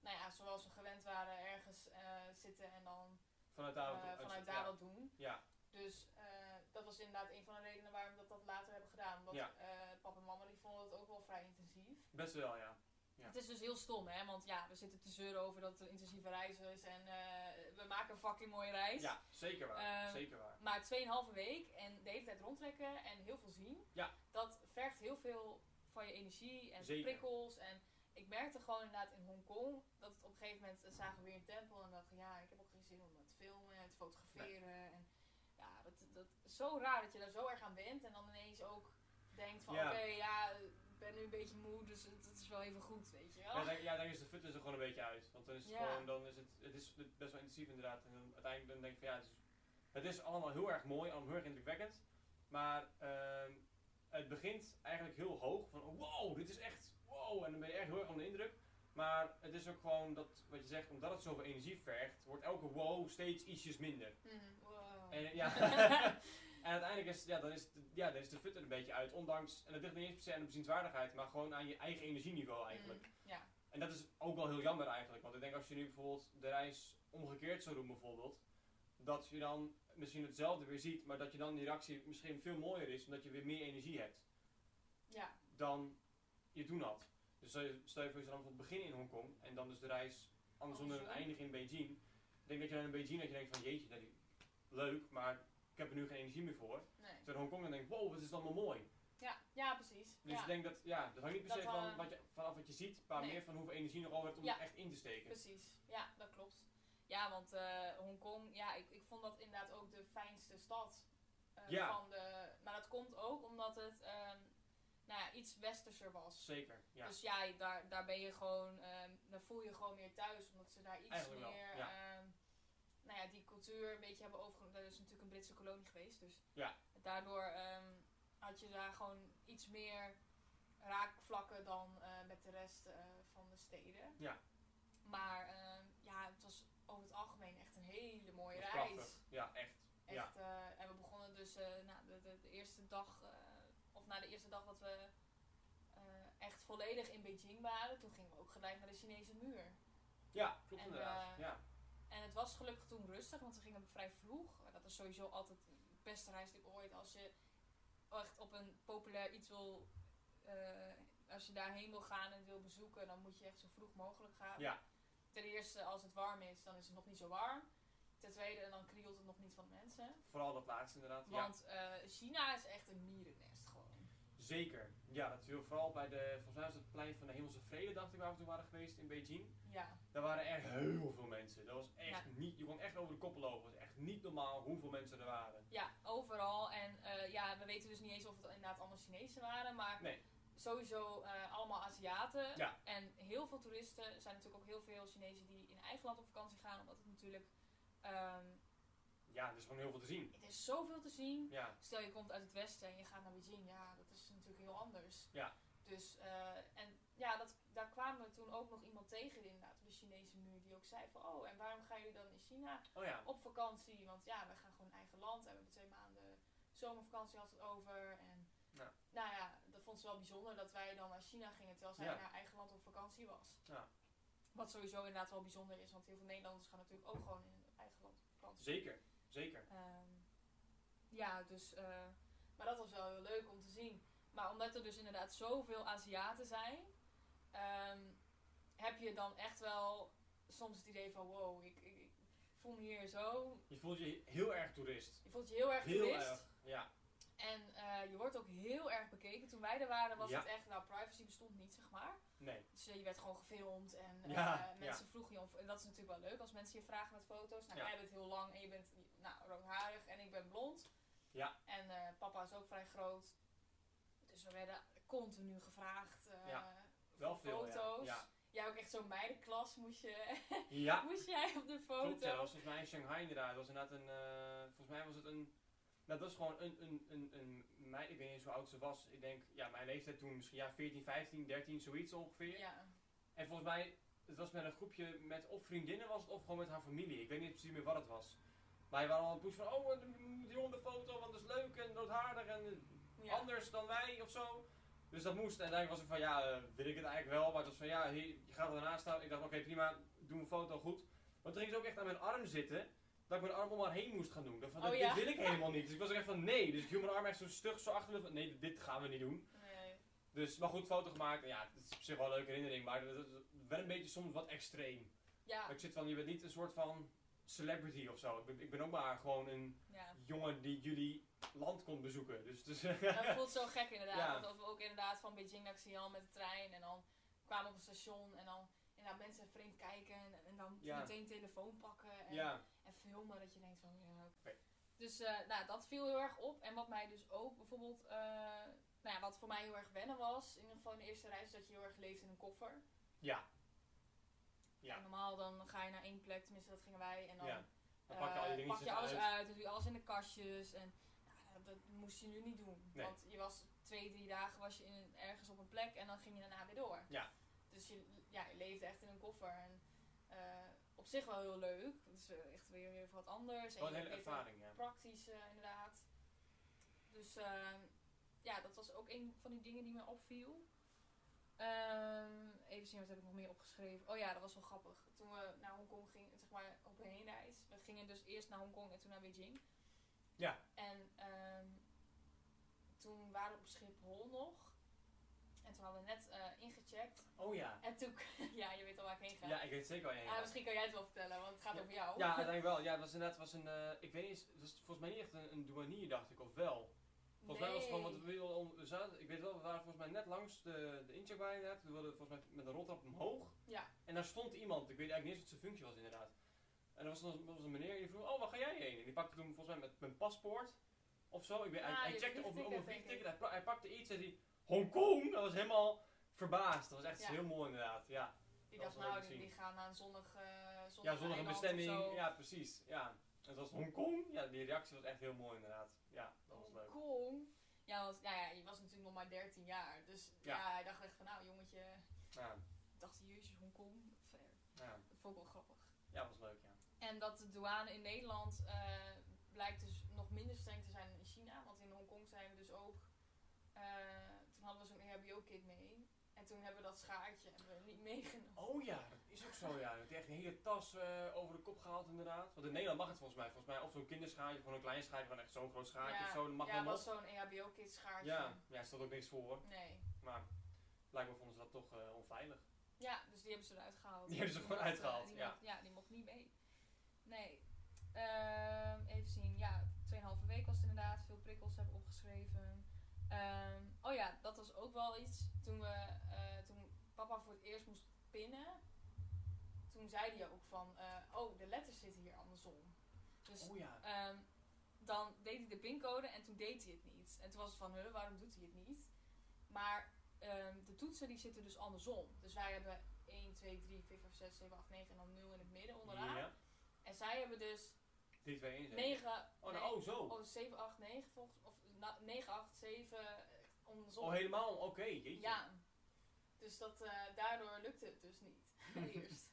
S1: nou ja, zoals we gewend waren, ergens eh, zitten en dan
S2: Vanuit
S1: eh,
S2: daar wat uit-
S1: vanuit
S2: ja.
S1: daar wat doen.
S2: Ja.
S1: Dus eh, dat was inderdaad een van de redenen waarom we dat, dat later hebben gedaan. Omdat
S2: Ja.
S1: eh, papa en mama die vonden het ook wel vrij intensief.
S2: Best wel, ja. Ja.
S1: Het is dus heel stom, hè? Want ja, we zitten te zeuren over dat het een intensieve reis is en eh, we maken een fucking mooie reis.
S2: Ja, zeker waar.
S1: Ehm,
S2: zeker waar.
S1: Maar 2,5 week en de hele tijd rondtrekken en heel veel zien.
S2: Ja.
S1: Dat vergt heel veel van je energie en
S2: Zeker.
S1: prikkels. En ik merkte gewoon inderdaad in Hongkong dat het op een gegeven moment eh, zagen we weer een tempel en dachten ja, ik heb ook geen zin om te filmen en te fotograferen. En ja, dat, dat is zo raar dat je daar zo erg aan bent en dan ineens ook denkt van
S2: Ja.
S1: oké, ja, ik ben nu een beetje moe, dus het, het is wel even goed, weet je wel.
S2: Ja, dan, ja, dan is de fut dus er gewoon een beetje uit. Want dan is het
S1: Ja.
S2: gewoon, dan is het, het is best wel intensief inderdaad. En dan uiteindelijk dan denk ik van ja, het is, het is allemaal heel erg mooi, allemaal heel erg indrukwekkend. Maar ehm, het begint eigenlijk heel hoog van wow, dit is echt wow. En dan ben je echt heel erg onder de indruk. Maar het is ook gewoon dat, wat je zegt, omdat het zoveel energie vergt, wordt elke wow steeds ietsjes minder.
S1: Mhm. Wow.
S2: En, eh, ja. *laughs* en uiteindelijk is, ja, dan is, de, ja, dan is de fut er een beetje uit. Ondanks, en dat ligt niet eens per se aan de bezienswaardigheid, maar gewoon aan je eigen energieniveau eigenlijk.
S1: Mhm. Ja,
S2: En dat is ook wel heel jammer eigenlijk. Want ik denk als je nu bijvoorbeeld de reis omgekeerd zou doen bijvoorbeeld. Dat je dan misschien hetzelfde weer ziet. Maar dat je dan die reactie misschien veel mooier is. Omdat je weer meer energie hebt.
S1: Ja,
S2: Dan je toen had. Dus stel je, stel je voor je zou dan bijvoorbeeld beginnen in Hongkong. En dan dus de reis andersom en
S1: Andersom.
S2: eindigen in Beijing. Ik denk dat je dan in Beijing dat je denkt van jeetje. Dat leuk. Maar ik heb er nu geen energie meer voor.
S1: nee.
S2: Terwijl in Hongkong dan denk ik wow wat is het allemaal mooi.
S1: Ja, ja precies.
S2: Dus
S1: ja,
S2: ik denk dat, ja, dat hangt niet per se
S1: Dat,
S2: van
S1: eh,
S2: wat je, vanaf wat je ziet, maar
S1: nee.
S2: meer van hoeveel energie nog over hebt om
S1: Ja.
S2: het echt in te steken.
S1: precies. Ja, dat klopt. Ja, want eh, Hongkong, ja, ik, ik vond dat inderdaad ook de fijnste stad eh,
S2: Ja.
S1: van de... Maar dat komt ook omdat het ehm, nou ja, iets westerser was.
S2: Zeker, ja.
S1: Dus ja, je- daar, daar ben je gewoon, ehm, daar voel je gewoon meer thuis, omdat ze daar iets
S2: Eigenlijk wel,
S1: meer,
S2: ja.
S1: ehm, nou ja, die cultuur een beetje hebben overgenomen. Dat is natuurlijk een Britse kolonie geweest, dus
S2: Ja.
S1: daardoor ehm, had je daar gewoon iets meer raakvlakken dan eh, met de rest eh, van de steden.
S2: Ja.
S1: Maar ehm, ja, het was over het algemeen echt een hele mooie
S2: dat is
S1: reis.
S2: prachtig. Ja, echt. Ja.
S1: Echt, eh, en we begonnen dus eh, na de, de, de eerste dag, eh, of na de eerste dag dat we eh, echt volledig in Beijing waren, toen gingen we ook gelijk naar de Chinese muur.
S2: Ja, klopt
S1: En,
S2: inderdaad.
S1: eh,
S2: ja.
S1: En het was gelukkig toen rustig, want we gingen vrij vroeg. Maar Dat is sowieso altijd de beste reis die ooit. Als je echt op een populair iets wil, eh, als je daarheen wil gaan en het wil bezoeken, dan moet je echt zo vroeg mogelijk gaan.
S2: Ja.
S1: Ten eerste, als het warm is, dan is het nog niet zo warm. Ten tweede, dan krielt het nog niet van mensen.
S2: Vooral dat laatste inderdaad. Ja,
S1: Want eh, China is echt een mierennest gewoon.
S2: zeker. Ja, dat viel vooral bij de, volgens mij was het plein van de Hemelse Vrede, dacht ik, waar we toen waren geweest in Beijing.
S1: Ja,
S2: Daar waren echt heel veel mensen. Dat was echt
S1: Ja.
S2: niet, je kon echt over de kop lopen. Het was echt niet normaal hoeveel mensen er waren.
S1: ja overal. En eh, ja, we weten dus niet eens of het inderdaad allemaal Chinezen waren, maar
S2: Nee.
S1: sowieso eh, allemaal Aziaten.
S2: Ja.
S1: En heel veel toeristen. Er zijn natuurlijk ook heel veel Chinezen die in eigen land op vakantie gaan, omdat het natuurlijk... ehm,
S2: Ja, er is gewoon heel veel te zien.
S1: het is zoveel te zien.
S2: Ja,
S1: Stel je komt uit het westen en je gaat naar Beijing, ja, dat is natuurlijk heel anders.
S2: Ja.
S1: Dus, eh, en ja, dat, daar kwamen we toen ook nog iemand tegen inderdaad, op de Chinese muur, die ook zei van, oh, en waarom gaan jullie dan in China?
S2: oh ja.
S1: op vakantie. Want ja, we gaan gewoon eigen land. En we hebben twee maanden zomervakantie had het over. En
S2: Ja.
S1: nou ja, dat vond ze wel bijzonder dat wij dan naar China gingen terwijl zij
S2: Ja.
S1: naar eigen land op vakantie was.
S2: Ja.
S1: Wat sowieso inderdaad wel bijzonder is, want heel veel Nederlanders gaan natuurlijk ook gewoon in hun eigen land op vakantie.
S2: Zeker, zeker.
S1: Ehm, ja, dus. eh, maar dat was wel heel leuk om te zien. Maar omdat er dus inderdaad zoveel Aziaten zijn, ehm, heb je dan echt wel soms het idee van: wow, ik, ik, ik voel me hier zo.
S2: Je voelt je heel erg toerist.
S1: Je voelt je heel erg
S2: Heel
S1: toerist.
S2: erg. Ja,
S1: En eh, je wordt ook heel erg bekeken. Toen wij er waren, was
S2: Ja.
S1: het echt, nou, privacy bestond niet, zeg maar.
S2: nee.
S1: Dus eh, je werd gewoon gefilmd en eh,
S2: Ja,
S1: mensen vroegen je om. En dat is natuurlijk wel leuk als mensen je vragen met foto's. Nou,
S2: Ja.
S1: jij bent heel lang en je bent nou, roodharig en ik ben blond.
S2: Ja.
S1: En eh, papa is ook vrij groot. Dus we werden continu gevraagd eh
S2: Ja.
S1: voor
S2: Wel veel, ja.
S1: foto's.
S2: Ja.
S1: Jij ook echt zo'n meidenklas moest je. *laughs*
S2: Ja,
S1: moest jij op de foto.
S2: Klopt, ja, dat was volgens mij in Shanghai inderdaad. Dat was inderdaad een, eh, volgens mij was het een, nou, dat was gewoon een, een, een, een meid, ik weet niet eens hoe oud ze was. Ik denk, ja, mijn leeftijd toen misschien, ja, 14, 15, 13, zoiets ongeveer.
S1: ja.
S2: En volgens mij, het was met een groepje met of vriendinnen was het, of gewoon met haar familie. Ik weet niet precies meer wat het was. Maar wij waren al een poes van, oh, die ronde foto, want dat is leuk en roodhaardig en
S1: Ja.
S2: anders dan wij of zo. Dus dat moest. En eigenlijk was ik van, ja, eh, wil ik het eigenlijk wel. Maar het was van, ja, hier, je gaat ernaast staan. Ik dacht, oké, prima, doe een foto goed. Maar toen ging ze ook echt aan mijn arm zitten. Dat ik mijn arm om haar heen moest gaan doen. Dat, van,
S1: Oh,
S2: dit-
S1: ja.
S2: dit
S1: *laughs*
S2: wil ik helemaal niet. Dus ik was ook echt van, nee. Dus ik hield mijn arm echt zo stug zo achter me van, nee, dit gaan we niet doen.
S1: Nee.
S2: Dus, maar goed, foto gemaakt. En Ja, het is op zich wel een leuke herinnering. Maar dat is wel een beetje soms wat extreem.
S1: Ja,
S2: Ik zit van, je bent niet een soort van celebrity of zo. Ik ben, ik ben ook maar gewoon een
S1: ja.
S2: jongen die jullie land komt bezoeken. Dus, dus *laughs*
S1: Ja, dat voelt zo gek inderdaad.
S2: Ja.
S1: Want dat we ook inderdaad van Beijing naar Xi'an met de trein. En dan kwamen we op het station. En dan inderdaad mensen vreemd kijken. En, en dan
S2: Ja.
S1: meteen telefoon pakken. En,
S2: ja.
S1: en filmen. Dat je denkt van... Ja,
S2: Oké.
S1: Dus eh, nou, dat viel heel erg op. En wat mij dus ook bijvoorbeeld... eh, nou ja, wat voor mij heel erg wennen was. In ieder geval in de eerste reis. is Dat je heel erg leeft in een koffer.
S2: Ja. Ja.
S1: En normaal dan ga je naar één plek. Tenminste, dat gingen wij. En dan...
S2: Ja. Dan pak je al die
S1: Eh, pak
S2: dingetjes
S1: je alles
S2: uit.
S1: uit. en doe je alles in de kastjes. En nou, dat moest je nu niet doen.
S2: Nee.
S1: Want je was twee, drie dagen was je in, een- ergens op een plek en dan ging je daarna weer door.
S2: Ja.
S1: Dus je, ja, je leefde echt in een koffer. En eh, op zich wel heel leuk. Het is eh, echt weer, weer wat anders.
S2: Wel een
S1: je
S2: hele
S1: leert
S2: ervaring, ja.
S1: ook Praktisch, eh, inderdaad. ehm, Dus eh, ja, dat was ook een van die dingen die me opviel. Ehm, even zien, wat heb ik nog meer opgeschreven? Oh ja, dat was wel grappig. Toen we naar Hongkong gingen, zeg maar op een reis. We gingen dus eerst naar Hongkong en toen naar Beijing.
S2: Ja.
S1: En ehm, toen waren we op Schiphol nog. En toen hadden we net eh, ingecheckt.
S2: Oh ja.
S1: En toen, *laughs* ja, je weet al waar ik heen ga.
S2: Ja, ik weet zeker wel. Ja,
S1: Ah, misschien kan jij het wel vertellen, want het gaat
S2: Ja.
S1: over jou.
S2: ja uiteindelijk wel. Ja, het was inderdaad was een. eh, ik weet niet, eens- het was volgens mij niet echt een, een douanier, dacht ik, of wel. Volgens mij was het gewoon,
S1: Nee.
S2: want we wilden om, we zaten, ik weet wel, we waren volgens mij net langs de, de incheckbar inderdaad. We wilden volgens mij met een roltrap omhoog.
S1: Ja.
S2: En daar stond iemand, ik weet eigenlijk niet eens wat zijn functie was inderdaad. En er was, dan- was een meneer die vroeg, oh waar ga jij heen? En die pakte toen volgens mij met mijn paspoort of zo. Ik weet,
S1: Ah,
S2: hij,
S1: je
S2: hij checkte op, op
S1: vliegticket,
S2: een
S1: denk ik.
S2: vliegticket, hij, pra- hij pakte iets en die Hongkong, dat was helemaal verbaasd. Dat was echt
S1: Ja.
S2: heel mooi inderdaad, ja.
S1: Die
S2: Dat
S1: dacht,
S2: was wel
S1: nou,
S2: leuk
S1: die,
S2: te
S1: die gaan naar een zonnig, eh zonnig
S2: Ja, zonder een
S1: eiland of
S2: bestemming.
S1: zo.
S2: Ja, precies. Ja. En dat was Hongkong. Ja, die reactie was echt heel mooi inderdaad. Ja, dat was leuk.
S1: Hongkong. Ja, want nou ja, je was natuurlijk nog maar 13 jaar. Dus ja,
S2: Ja.
S1: hij dacht echt van, nou jongetje,
S2: Ja,
S1: ik dacht jezus, Hongkong. Ver.
S2: ja.
S1: Dat vond ik wel grappig.
S2: ja dat was leuk, ja.
S1: En dat de douane in Nederland eh, blijkt dus nog minder streng te zijn dan in China. Want in Hongkong zijn we dus ook. eh, toen hadden we zo'n RBO-kit mee. En toen hebben we dat schaartje hebben we niet *laughs* meegenomen.
S2: Oh ja, dat is ook zo, ja. Dat echt een hele tas eh, over de kop gehaald inderdaad. Want in Nederland mag het volgens mij. Volgens mij of zo'n kinderschaartje, gewoon een klein schaartje, van echt zo'n groot schaartje
S1: Ja,
S2: of zo. Dat mag
S1: ja,
S2: wel
S1: was
S2: nog.
S1: zo'n E EHBO-kit schaartje.
S2: Ja, ja, er stond ook niks voor.
S1: Nee.
S2: Maar blijkbaar vonden ze dat toch eh, onveilig.
S1: Ja, dus die hebben ze eruit gehaald.
S2: Die hebben ze gewoon
S1: mocht, eh,
S2: uitgehaald,
S1: die
S2: ja.
S1: mocht- ja, die mocht niet mee. Nee. Ehm, even zien. Ja, 2,5 week was het inderdaad. Veel prikkels hebben we opgeschreven. Ehm, oh ja, dat was ook wel iets. Toen, we, eh, toen papa voor het eerst moest pinnen, toen zei hij ook van... eh, oh, de letters zitten hier andersom. Dus
S2: Oh ja.
S1: Ehm, dan deed hij de pincode en toen deed hij het niet. En toen was het van, huh, waarom doet hij het niet? Maar ehm, de toetsen die zitten dus andersom. Dus wij hebben 1, 2, 3, 4, 5, 6, 7, 8, 9 en dan 0 in het midden onderaan.
S2: Ja.
S1: En zij hebben dus
S2: 3, 2, 1.
S1: 9,
S2: Oh, nou, oh zo.
S1: oh, 7, 8, 9 volgens Of na- 9, 8, 7 eh, andersom.
S2: Oh, helemaal. Oké, jeetje.
S1: Ja. Dus dat, eh, daardoor lukte het dus niet. *laughs* Eerst.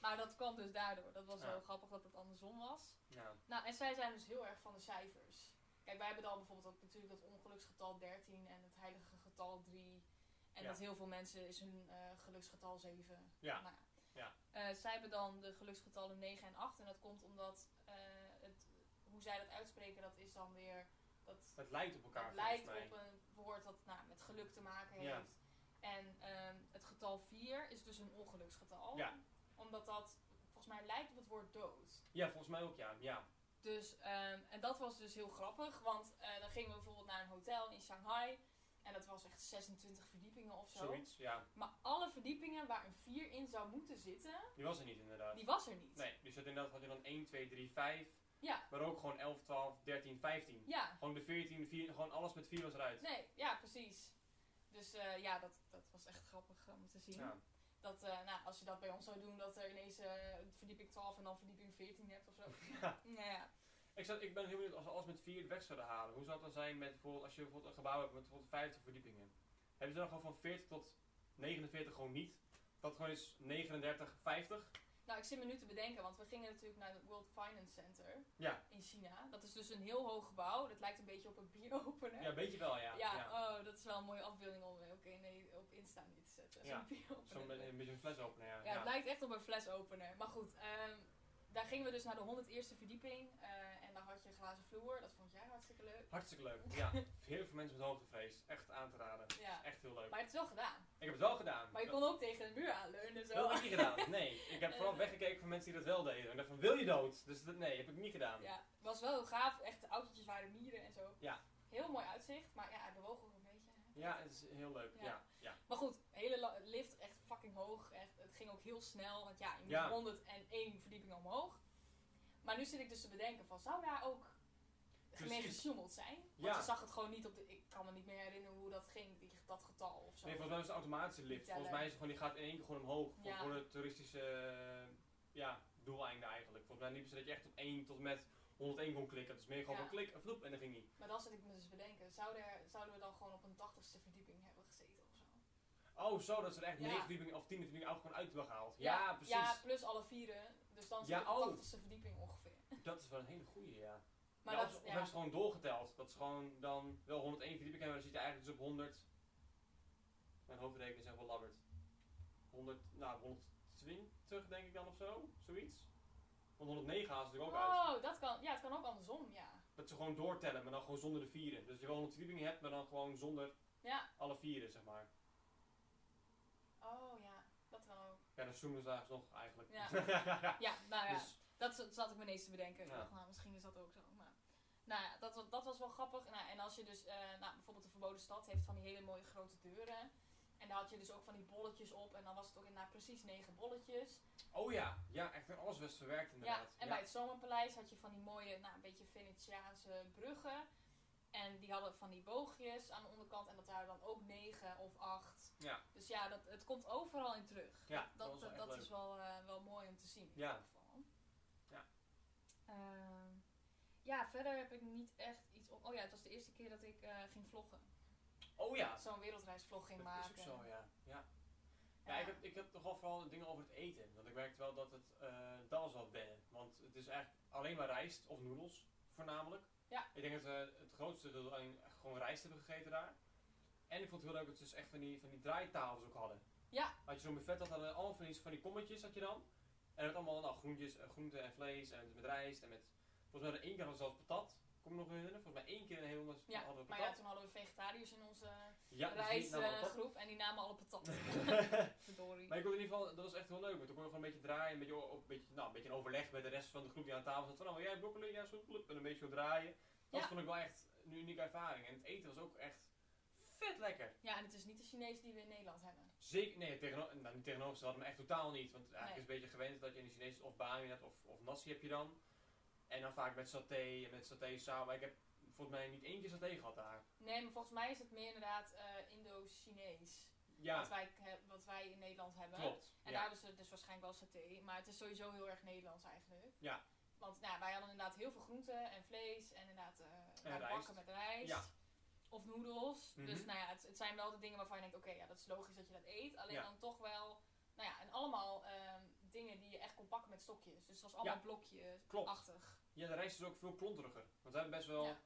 S1: Maar dat kwam dus daardoor. Dat was
S2: Ja.
S1: wel grappig dat het andersom was.
S2: Ja.
S1: Nou, en zij zijn dus heel erg van de cijfers. Kijk, wij hebben dan bijvoorbeeld ook natuurlijk dat ongeluksgetal 13 en het heilige getal 3. En
S2: Ja.
S1: dat heel veel mensen is hun eh, geluksgetal 7.
S2: Ja.
S1: Nou,
S2: Ja.
S1: Eh, zij hebben dan de geluksgetallen 9 en 8. En dat komt omdat eh, het, hoe zij dat uitspreken, dat is dan weer. Dat,
S2: Het lijkt op elkaar
S1: dat
S2: volgens
S1: lijkt
S2: mij.
S1: op een woord dat nou, met geluk te maken heeft.
S2: Ja.
S1: En ehm, het getal 4 is dus een ongeluksgetal.
S2: Ja.
S1: Omdat dat volgens mij lijkt op het woord dood.
S2: Ja, volgens mij ook ja. Ja.
S1: Dus, ehm, en dat was dus heel grappig, want eh, dan gingen we bijvoorbeeld naar een hotel in Shanghai. En dat was echt 26 verdiepingen of zo.
S2: Zoiets. Ja.
S1: Maar alle verdiepingen waar een 4 in zou moeten zitten,
S2: Die was er niet inderdaad.
S1: die was er niet.
S2: Nee, dus dat inderdaad had je dan 1, 2, 3, 5.
S1: Ja.
S2: Maar ook gewoon 11, 12, 13, 15.
S1: Ja,
S2: Gewoon de 14, 4, gewoon alles met 4 was eruit.
S1: nee, ja, precies. Dus eh, ja, dat, dat was echt grappig eh, om te zien.
S2: Ja.
S1: Dat, eh, nou, als je dat bij ons zou doen, dat er ineens eh, verdieping 12 en dan verdieping 14 hebt of
S2: *laughs*
S1: zo.
S2: Ja.
S1: Nou ja,
S2: Ik, zou, ik ben heel benieuwd als we alles met 4 weg zouden halen. Hoe zou het dan zijn met bijvoorbeeld als je bijvoorbeeld een gebouw hebt met bijvoorbeeld 50 verdiepingen? Hebben ze dan gewoon van 40 tot 49 gewoon niet? Dat gewoon is 39, 50?
S1: Nou, ik zit me nu te bedenken, want we gingen natuurlijk naar het World Finance Center
S2: Ja.
S1: in China. Dat is dus een heel hoog gebouw. Dat lijkt een beetje op een bieropener.
S2: Ja, weet je wel, ja.
S1: Ja, oh, dat is wel een mooie afbeelding om eh, oké, nee, op Insta niet te zetten.
S2: Ja.
S1: Zo'n *laughs* bieropener.
S2: Zo met een beetje een fles openen, ja.
S1: Ja, het lijkt echt op een flesopener. Maar goed, ehm, daar gingen we dus naar de 101ste verdieping. eh, en daar had je een glazen vloer. Dat vond jij hartstikke leuk.
S2: Hartstikke leuk.
S1: *laughs*
S2: Ja, heel veel mensen met hoogtevrees. Echt aan te raden.
S1: Ja.
S2: Echt heel leuk.
S1: Maar het is wel gedaan.
S2: Ik heb het wel gedaan.
S1: Maar je kon ook tegen een muur aanleunen. en Zo.
S2: Dat heb ik
S1: *laughs*
S2: niet gedaan. Nee, ik heb vooral
S1: Eh.
S2: weggekeken van mensen die dat wel deden. En dacht van, wil je dood? Dus dat, nee, heb ik niet gedaan.
S1: Ja, het was wel heel gaaf. Echt, de autootjes waren mieren en zo.
S2: Ja.
S1: Heel mooi uitzicht, maar ja, hij bewoog ook een beetje.
S2: Ja, het is heel leuk.
S1: Ja.
S2: Ja, ja. ja.
S1: Maar goed, hele la- lift echt fucking hoog. Echt, het ging ook heel snel, want ja, je moet
S2: Ja.
S1: 101 verdiepingen omhoog. Maar nu zit ik dus te bedenken van, zou daar ook mee
S2: Precies.
S1: gesjoemeld zijn? Want
S2: Ja.
S1: je zag het gewoon niet op de... Ik kan me niet meer herinneren hoe dat ging, die, dat getal of zo.
S2: Nee, volgens mij is het een automatische lift.
S1: Niet
S2: Volgens mij is het gewoon, die gaat in één keer gewoon omhoog. Voor,
S1: Ja.
S2: voor het toeristische eh, ja, doeleinde eigenlijk. Volgens mij liepen ze dat je echt op 1 tot met 101 kon klikken. Het is meer gewoon
S1: Ja.
S2: van klik, een vloep en dan ging die.
S1: Maar dan zit ik me dus te bedenken, zouden, er, zouden we dan gewoon op een 80ste verdieping hebben gezeten of zo?
S2: Oh, zo, dat ze er echt
S1: Ja.
S2: 9 verdiepingen of 10 verdiepingen ook gewoon uit hebben gehaald. Ja, precies.
S1: Ja, plus alle vieren. Dus dan zit
S2: Ja,
S1: ik op
S2: oh.
S1: de 80ste verdieping ongeveer.
S2: Dat is wel een hele goeie, ja.
S1: Maar
S2: ja,
S1: dat,
S2: of of
S1: ja.
S2: hebben ze gewoon doorgeteld. Dat is gewoon dan wel 101 verdiepingen hebben, dan zit je eigenlijk dus op 100. eh, mijn hoofdrekening is echt wel labberd. 100, nou, 120 denk ik dan of zo, zoiets. Want 109 haalt ze er ook uit.
S1: Oh, dat kan. Ja, het kan ook andersom, ja.
S2: Dat ze gewoon doortellen, maar dan gewoon zonder de vieren. Dus je gewoon een verdieping hebt, maar dan gewoon zonder
S1: Ja.
S2: alle vieren, zeg maar.
S1: Oh ja, dat kan ook.
S2: Ja, dan zoomen ze daar nog eigenlijk. *laughs*
S1: Ja. Ja, nou ja,
S2: Dus,
S1: dat z- zat ik me ineens te bedenken. Ik
S2: Ja.
S1: dacht, nou, misschien is dat ook zo. Maar, nou ja, dat, wa- dat was wel grappig. Nou, en als je dus, eh, nou, bijvoorbeeld de Verboden Stad heeft van die hele mooie grote deuren. En daar had je dus ook van die bolletjes op. En dan was het ook inderdaad precies negen bolletjes.
S2: oh ja, ja, echt alles was verwerkt
S1: Ja,
S2: inderdaad.
S1: en bij het Zomerpaleis had je van die mooie, nou, een beetje Venetiaanse bruggen. En die hadden van die boogjes aan de onderkant. En dat waren dan ook negen of acht.
S2: Ja.
S1: Dus ja, dat, het komt overal in terug.
S2: Ja, dat
S1: dat,
S2: was wel
S1: dat,
S2: echt
S1: dat
S2: leuk.
S1: is wel, eh, wel mooi om te zien in
S2: Ja.
S1: ieder geval.
S2: Ja.
S1: Ehm, ja, verder heb ik niet echt iets op. Oh ja, het was de eerste keer dat ik eh, ging vloggen.
S2: Oh ja,
S1: Zo'n wereldreisvlog ging
S2: dat
S1: maken.
S2: is ook zo, ja. ja.
S1: Ja.
S2: Ja, ik heb, ik heb nogal vooral dingen over het eten. Want ik merkte wel dat het, eh dat was wel wennen. Want het is eigenlijk alleen maar rijst of noedels, voornamelijk.
S1: Ja.
S2: Ik denk dat we het grootste deel alleen echt gewoon rijst hebben gegeten daar. En ik vond het heel leuk dat ze dus echt van die, van die draaitafels ook hadden.
S1: Ja.
S2: Had je zo'n buffet, dat hadden allemaal van die, van die kommetjes had je dan. En met allemaal nou, groentjes, eh, groenten en vlees en met rijst en met... Volgens mij hadden één keer hadden ze zelfs patat. Kom ik me nog herinneren. Volgens mij één keer een heel anders
S1: Ja,
S2: hadden we
S1: Maar ja,
S2: patat.
S1: toen hadden we vegetariërs in onze
S2: Ja, dus die namen allemaal patat.
S1: reisgroep en die namen alle
S2: *laughs*
S1: patat. *laughs* Verdorie.
S2: Maar ik kon in ieder geval, dat was echt heel leuk. Want toen kon je gewoon een beetje draaien, een beetje, o- een beetje, nou, een beetje een overleg met de rest van de groep die aan tafel zat. Van, oh, jij broccoli, jij soep, bloep, en een beetje zo draaien. Dat
S1: Ja.
S2: vond ik wel echt een unieke ervaring. En het eten was ook echt vet lekker.
S1: Ja, en het is niet de Chinees die we in Nederland hebben.
S2: Zeker, nee, tegeno nou, niet tegenover, ze hadden me echt totaal niet. Want eigenlijk
S1: Nee.
S2: is het een beetje gewend dat je in de Chinese of bami hebt of, of nasi heb je dan. En dan vaak met saté en met saté samen. Maar ik heb volgens mij niet één keer saté gehad daar.
S1: Nee, maar volgens mij is het meer inderdaad eh, Indo-Chinees. Wat,
S2: Ja,
S1: wij, he- wat wij in Nederland hebben.
S2: klopt.
S1: En
S2: Ja.
S1: daar is het dus waarschijnlijk wel saté. Maar het is sowieso heel erg Nederlands eigenlijk.
S2: Ja.
S1: Want nou, wij hadden inderdaad heel veel groenten en vlees en inderdaad eh nou,
S2: rijst.
S1: bakken met rijst.
S2: Ja.
S1: Of noedels.
S2: Mhm.
S1: Dus nou ja, het, het zijn wel de dingen waarvan je denkt, oké, ja, dat is logisch dat je dat eet. Alleen
S2: Ja.
S1: dan toch wel, nou ja, en allemaal ehm, dingen die je echt kon pakken met stokjes. Dus het was allemaal
S2: Ja. Klopt.
S1: blokjesachtig.
S2: Ja, de rijst is ook veel klonteriger. Want we hebben best wel,
S1: Ja.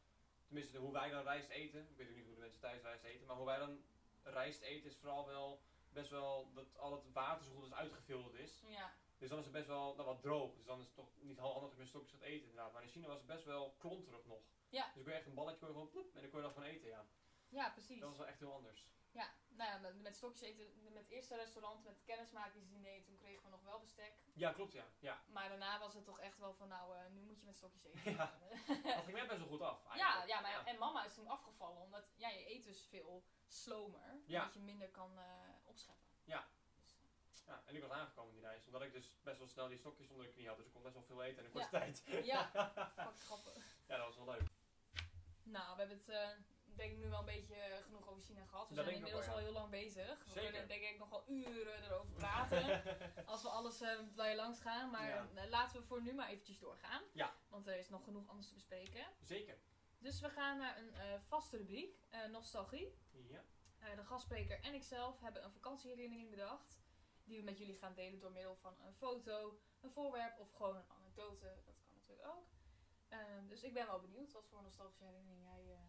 S2: tenminste hoe wij dan rijst eten, ik weet ook niet hoe de mensen thuis rijst eten, maar hoe wij dan rijst eten is vooral wel best wel dat al het water zo goed als uitgefilterd is.
S1: Ja.
S2: Dus dan is het best wel nou, wat droog. Dus dan is het toch niet heel handig dat je met stokjes gaat eten inderdaad. Maar in China was het best wel klonterig nog.
S1: Ja.
S2: Dus dan kon je echt een balletje kon je gewoon ploep en dan kon je dan van eten, ja.
S1: ja, precies.
S2: Dat was wel echt heel anders.
S1: Ja, nou ja, met, met stokjes eten, met het eerste restaurant, met kennismakingsdiner, toen kregen we nog wel bestek.
S2: Ja, klopt ja. Ja,
S1: Maar daarna was het toch echt wel van, nou, eh, nu moet je met stokjes eten.
S2: Ja.
S1: *laughs*
S2: dat ging mij best wel goed af
S1: ja,
S2: eigenlijk.
S1: ja, maar, en mama is toen afgevallen, omdat ja, je eet dus veel slomer,
S2: Ja.
S1: dat je minder kan eh, opscheppen.
S2: Ja.
S1: Dus, eh,
S2: Ja, en ik was aangekomen in die reis, omdat ik dus best wel snel die stokjes onder de knie had. Dus ik kon best wel veel eten in een
S1: Ja.
S2: korte *laughs* tijd.
S1: eh, ja, fuck grappig.
S2: Ja, dat was wel leuk.
S1: Nou, we hebben het eh, denk ik nu wel een beetje eh, genoeg over China gehad. We
S2: Dat
S1: zijn
S2: denk ik ook
S1: inmiddels
S2: wel,
S1: al
S2: ja.
S1: heel lang bezig. We
S2: Zeker.
S1: kunnen denk ik nog wel uren erover
S2: *laughs*
S1: praten, als we alles eh bij je langs gaan. Maar
S2: Ja.
S1: eh, laten we voor nu maar eventjes doorgaan.
S2: Ja.
S1: Want er is nog genoeg anders te bespreken.
S2: Zeker.
S1: Dus we gaan naar een eh, vaste rubriek, eh, nostalgie.
S2: Ja.
S1: Eh, de gastspreker en ikzelf hebben een vakantieherinnering bedacht. Die we met jullie gaan delen door middel van een foto, een voorwerp of gewoon een anekdote. Dat kan natuurlijk ook. Ehm, dus ik ben wel benieuwd wat voor nostalgische herinnering jij. eh,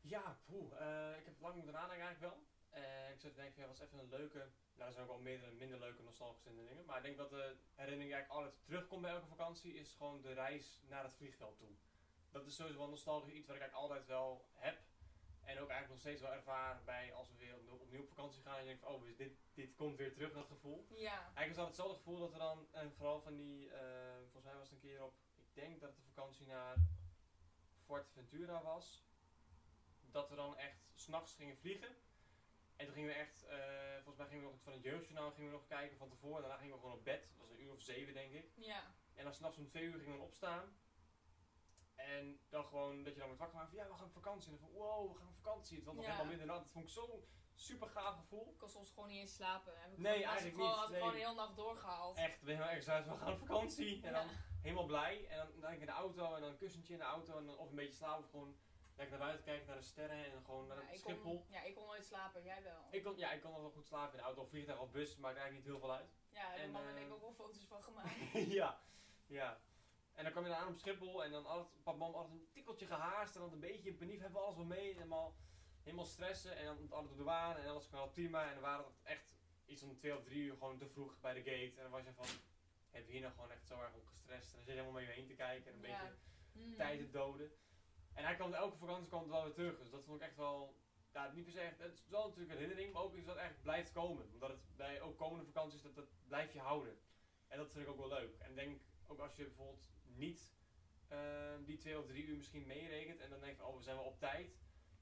S2: Ja, poeh. eh, ik heb lang moeten nadenken eigenlijk wel. Eh, ik zat te denken, van, ja, was even een leuke... Nou, er zijn ook wel meerdere minder leuke nostalgische herinneringen. Maar ik denk dat de herinnering die eigenlijk altijd terugkomt bij elke vakantie... is gewoon de reis naar het vliegveld toe. Dat is sowieso wel nostalgisch iets wat ik eigenlijk altijd wel heb. En ook eigenlijk nog steeds wel ervaar bij als we weer opnieuw- opnieuw op vakantie gaan. En je denkt van, oh, dus dit, dit komt weer terug, dat gevoel.
S1: Ja.
S2: Eigenlijk is dat hetzelfde gevoel dat we dan, en vooral van die, eh, volgens mij was het een keer op, ik denk dat het de vakantie naar Fort Ventura was, dat we dan echt s'nachts gingen vliegen. En toen gingen we echt, eh, volgens mij gingen we nog van het jeugdjournaal gingen we nog kijken van tevoren. En daarna gingen we gewoon op bed, dat was een uur of zeven denk ik.
S1: Ja.
S2: En dan s'nachts om twee uur gingen we opstaan. En dan gewoon dat je dan wordt wakker maakt van ja, we gaan op vakantie. En dan van wow, we gaan op vakantie. Het was nog
S1: Ja.
S2: helemaal middernacht. Dat vond ik zo'n super gaaf gevoel.
S1: Ik kon soms gewoon niet eens slapen. Heb ik
S2: Nee,
S1: gewoon, had ik
S2: eigenlijk
S1: gewoon,
S2: niet,
S1: Had ik
S2: nee.
S1: gewoon de hele nacht doorgehaald.
S2: Echt, ben je helemaal ergens uit, we gaan op vakantie. En
S1: Ja.
S2: dan helemaal blij. En dan, dan ik in de auto en dan een kussentje in de auto. En dan, of een beetje slapen. Of gewoon lekker naar buiten kijken, naar de sterren en dan gewoon naar
S1: Ja,
S2: het
S1: ik
S2: Schiphol.
S1: kon, ja, ik kon nooit slapen, jij wel.
S2: Ik kon, ja, ik kon nog wel goed slapen in de auto of vliegtuig of bus. Maakt eigenlijk niet heel veel uit. *laughs*
S1: ja, daar hebben
S2: en,
S1: mama en
S2: eh,
S1: ik ook wel foto's van
S2: *laughs*
S1: gemaakt.
S2: ja, ja. En dan kwam je dan aan op Schiphol en dan had pap en mam altijd een tikkeltje gehaast. En dan een beetje in paniek hebben we alles wel mee. En helemaal, helemaal stressen en dan altijd op de waan en alles kwam wel prima. En dan waren het echt iets om twee of drie uur gewoon te vroeg bij de gate. En dan was je van, heb je hier nou gewoon echt zo erg op gestrest? En dan zit je helemaal mee heen te kijken en een
S1: Ja.
S2: beetje
S1: Mm.
S2: tijd te doden. En hij kwam elke vakantie kwam het wel weer terug. Dus dat vond ik echt wel. Ja, niet per se echt. Het is wel natuurlijk een herinnering, maar ook iets wat echt blijft komen. Omdat het bij ook komende vakanties, dat, dat blijf je houden. En dat vind ik ook wel leuk. En denk ook als je bijvoorbeeld niet eh, die twee of drie uur misschien meerekent. En dan denk je van, oh, we zijn wel op tijd.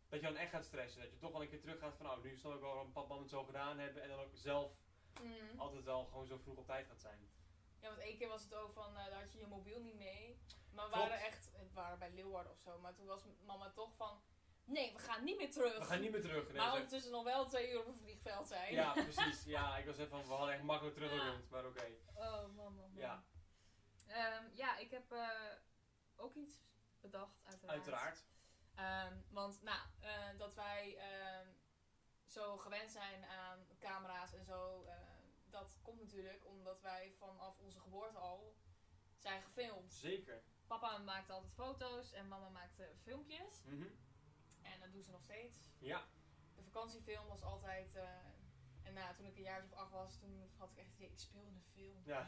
S2: Dat je dan echt gaat stressen. Dat je toch wel een keer terug gaat van, oh, nu snap ik wel waarom papa het zo gedaan hebben. En dan ook zelf
S1: Mm.
S2: altijd wel gewoon zo vroeg op tijd gaat zijn.
S1: Ja, want één keer was het ook van, eh, daar had je je mobiel niet mee. Maar we
S2: Klopt.
S1: waren echt, het waren bij Leeuwarden of zo. Maar toen was mama toch van, nee, we gaan niet meer terug.
S2: We gaan niet meer terug. Nee,
S1: maar
S2: zo-
S1: ondertussen nog wel twee uur op een vliegveld zijn.
S2: ja, precies. Ja, ik was even van, we hadden echt makkelijk teruggerund, maar oké.
S1: *laughs* Oh, man, man, man.
S2: Ja.
S1: Ehm, ja, ik heb eh, ook iets bedacht, uiteraard.
S2: Uiteraard.
S1: Ehm, want, nou, eh, dat wij ehm, zo gewend zijn aan camera's en zo, eh, dat komt natuurlijk omdat wij vanaf onze geboorte al zijn gefilmd.
S2: Zeker.
S1: Papa maakte altijd foto's en mama maakte filmpjes.
S2: Mhm.
S1: En dat doen ze nog steeds.
S2: Ja,
S1: De vakantiefilm was altijd. eh, en nou, toen ik een jaar of acht was, toen had ik echt het idee, ik speel in een film.
S2: *laughs* ja.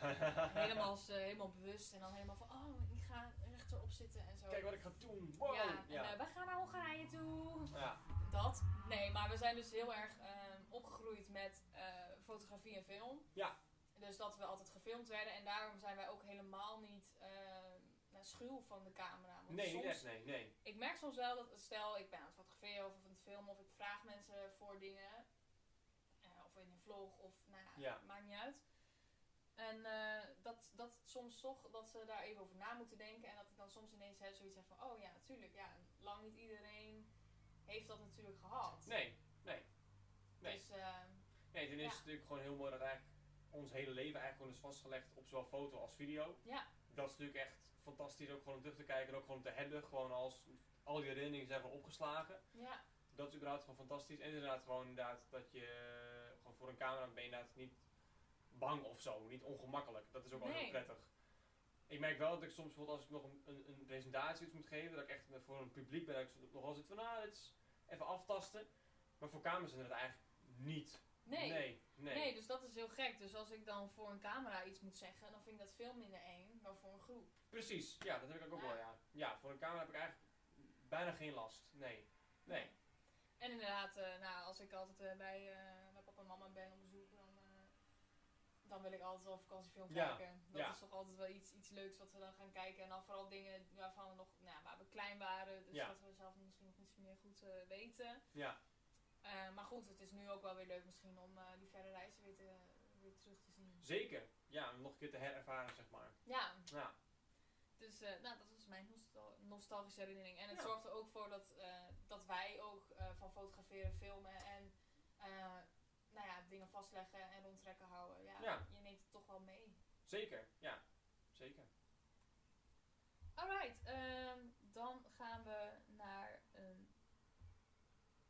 S1: Helemaal, als, eh, helemaal bewust en dan helemaal van, oh, ik ga rechterop zitten en zo.
S2: Kijk wat ik ga doen. Wow.
S1: Ja,
S2: Ja.
S1: en eh, we gaan naar Hongarije toe.
S2: Ja.
S1: Dat, nee, maar we zijn dus heel erg ehm, opgegroeid met eh, fotografie en film.
S2: Ja.
S1: Dus dat we altijd gefilmd werden en daarom zijn wij ook helemaal niet ehm, nou, schuw van de camera. Want
S2: Nee, niet
S1: soms
S2: echt. Nee, nee.
S1: ik merk soms wel dat, stel ik ben aan het fotograferen of aan het filmen of ik vraag mensen voor dingen. eh, of in een vlog of nou ja,
S2: Ja.
S1: maakt niet uit. En eh, dat, dat soms toch, dat ze daar even over na moeten denken. En dat ik dan soms ineens heb zoiets heb van, oh ja, natuurlijk. Ja, lang niet iedereen heeft dat natuurlijk gehad.
S2: Nee. nee.
S1: Dus eh,
S2: Nee, dan is
S1: Ja.
S2: het natuurlijk gewoon heel mooi dat eigenlijk ons hele leven eigenlijk gewoon is vastgelegd op zowel foto als video.
S1: Ja.
S2: Dat is natuurlijk echt fantastisch ook gewoon om terug te kijken en ook gewoon te hebben. Gewoon als al die herinneringen zijn gewoon opgeslagen.
S1: ja,
S2: Dat is überhaupt gewoon fantastisch. En inderdaad gewoon inderdaad dat je eh, gewoon voor een camera ben je inderdaad niet bang of zo. Niet ongemakkelijk. Dat is ook wel
S1: Nee.
S2: heel prettig. Ik merk wel dat ik soms bijvoorbeeld als ik nog een, een, een presentatie iets moet geven, dat ik echt met- voor een publiek ben, dat ik soms nog wel zit van nou, dit is even aftasten. Maar voor camera's inderdaad eigenlijk niet.
S1: nee.
S2: Nee. nee.
S1: Nee, dus dat is heel gek. Dus als ik dan voor een camera iets moet zeggen, dan vind ik dat veel minder eng dan voor een groep.
S2: Precies. Ja, dat heb ik ook wel, ja. Ja, voor een camera heb ik eigenlijk bijna geen last. Nee. Nee.
S1: En inderdaad, eh, nou, als ik altijd eh, bij, eh, bij papa en mama ben op bezoek, dan, eh, dan wil ik altijd wel vakantiefilm
S2: Ja,
S1: kijken. Dat
S2: ja.
S1: is toch altijd wel iets, iets leuks wat we dan gaan kijken. En dan vooral dingen waarvan we nog, nou, waar we klein waren, dus
S2: Ja.
S1: dat we zelf misschien nog niet zo meer goed eh, weten.
S2: Ja.
S1: Eh, maar goed, het is nu ook wel weer leuk misschien om eh, die verre reizen weer, te, weer terug te zien.
S2: Zeker. Ja, om nog een keer te herervaren, zeg maar.
S1: Ja,
S2: Ja.
S1: dus eh, nou, dat was mijn nostal- nostalgische herinnering. En het
S2: Ja.
S1: zorgt er ook voor dat, eh, dat wij ook eh, van fotograferen, filmen en eh, nou ja, dingen vastleggen en rondtrekken houden. Ja,
S2: Ja.
S1: Je neemt het toch wel mee.
S2: Zeker. Ja. Zeker.
S1: Alright, ehm, dan gaan we naar een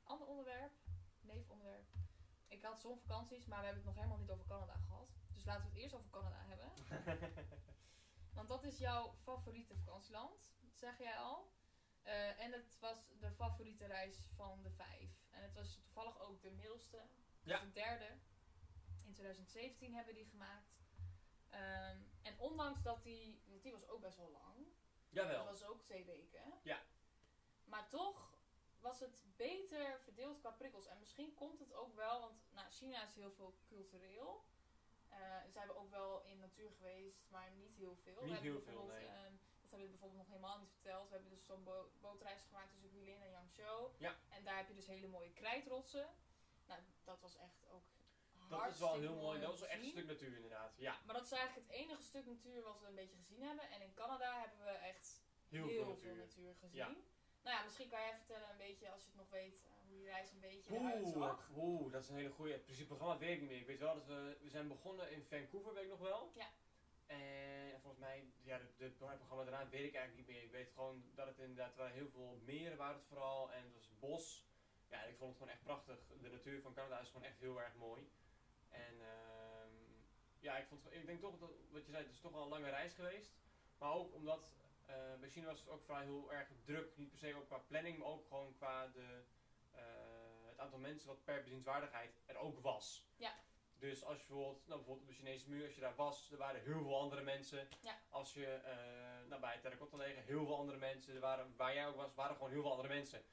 S1: ander onderwerp. Neefonderwerp. Ik had zonvakanties, maar we hebben het nog helemaal niet over Canada gehad. Dus laten we het eerst over Canada hebben. Want dat is jouw favoriete vakantieland, zeg jij al. Eh, en het was de favoriete reis van de vijf. En het was toevallig ook de middelste, dus
S2: Ja.
S1: de derde. In 2017 hebben we die gemaakt. Ehm, en ondanks dat die, want die was ook best wel lang.
S2: Jawel.
S1: Dat was ook twee weken.
S2: Ja.
S1: Maar toch was het beter verdeeld qua prikkels. En misschien komt het ook wel, want nou, China is heel veel cultureel. Eh zijn we ook wel in natuur geweest, maar niet heel veel.
S2: Niet
S1: we hebben
S2: heel veel,
S1: bijvoorbeeld,
S2: nee.
S1: ehm, dat hebben we bijvoorbeeld nog helemaal niet verteld. We hebben dus zo'n bo- bootreis gemaakt tussen Guilin en Yangzhou.
S2: Ja.
S1: En daar heb je dus hele mooie krijtrotsen. Nou, dat was echt ook
S2: Dat is wel
S1: hartstikke
S2: heel mooi.
S1: om
S2: Dat is
S1: te
S2: echt een
S1: zien.
S2: stuk natuur, inderdaad. Ja.
S1: Maar dat is eigenlijk het enige stuk natuur wat we een beetje gezien hebben. En in Canada hebben we echt
S2: Heel, veel natuur.
S1: gezien.
S2: Ja.
S1: Nou ja, misschien kan jij vertellen een beetje, als je het nog weet, eh, hoe die reis een beetje eruit
S2: Oeh,
S1: zag.
S2: oeh, dat is een hele goeie. Het principe programma weet ik niet meer. Ik weet wel dat we, we zijn begonnen in Vancouver, weet ik nog wel.
S1: Ja.
S2: En volgens mij, ja, de- de- het programma daarna weet ik eigenlijk niet meer. Ik weet gewoon dat het inderdaad waren heel veel meren waren het vooral en het was bos. Ja, ik vond het gewoon echt prachtig. De natuur van Canada is gewoon echt heel erg mooi. En ehm, ja, ik, vond, het- ik denk toch dat, wat je zei, het is toch wel een lange reis geweest. Maar ook omdat eh, bij China was het ook vrij heel erg druk. Niet per se ook qua planning, maar ook gewoon qua de, eh, het aantal mensen wat per bezienswaardigheid er ook was.
S1: Ja.
S2: Dus als je bijvoorbeeld, nou bijvoorbeeld op de Chinese muur, als je daar was, er waren heel veel andere mensen.
S1: Ja.
S2: Als je eh, nou, bij het terracotta leger, heel veel andere mensen. Er waren, waar jij ook was, waren gewoon heel veel andere mensen.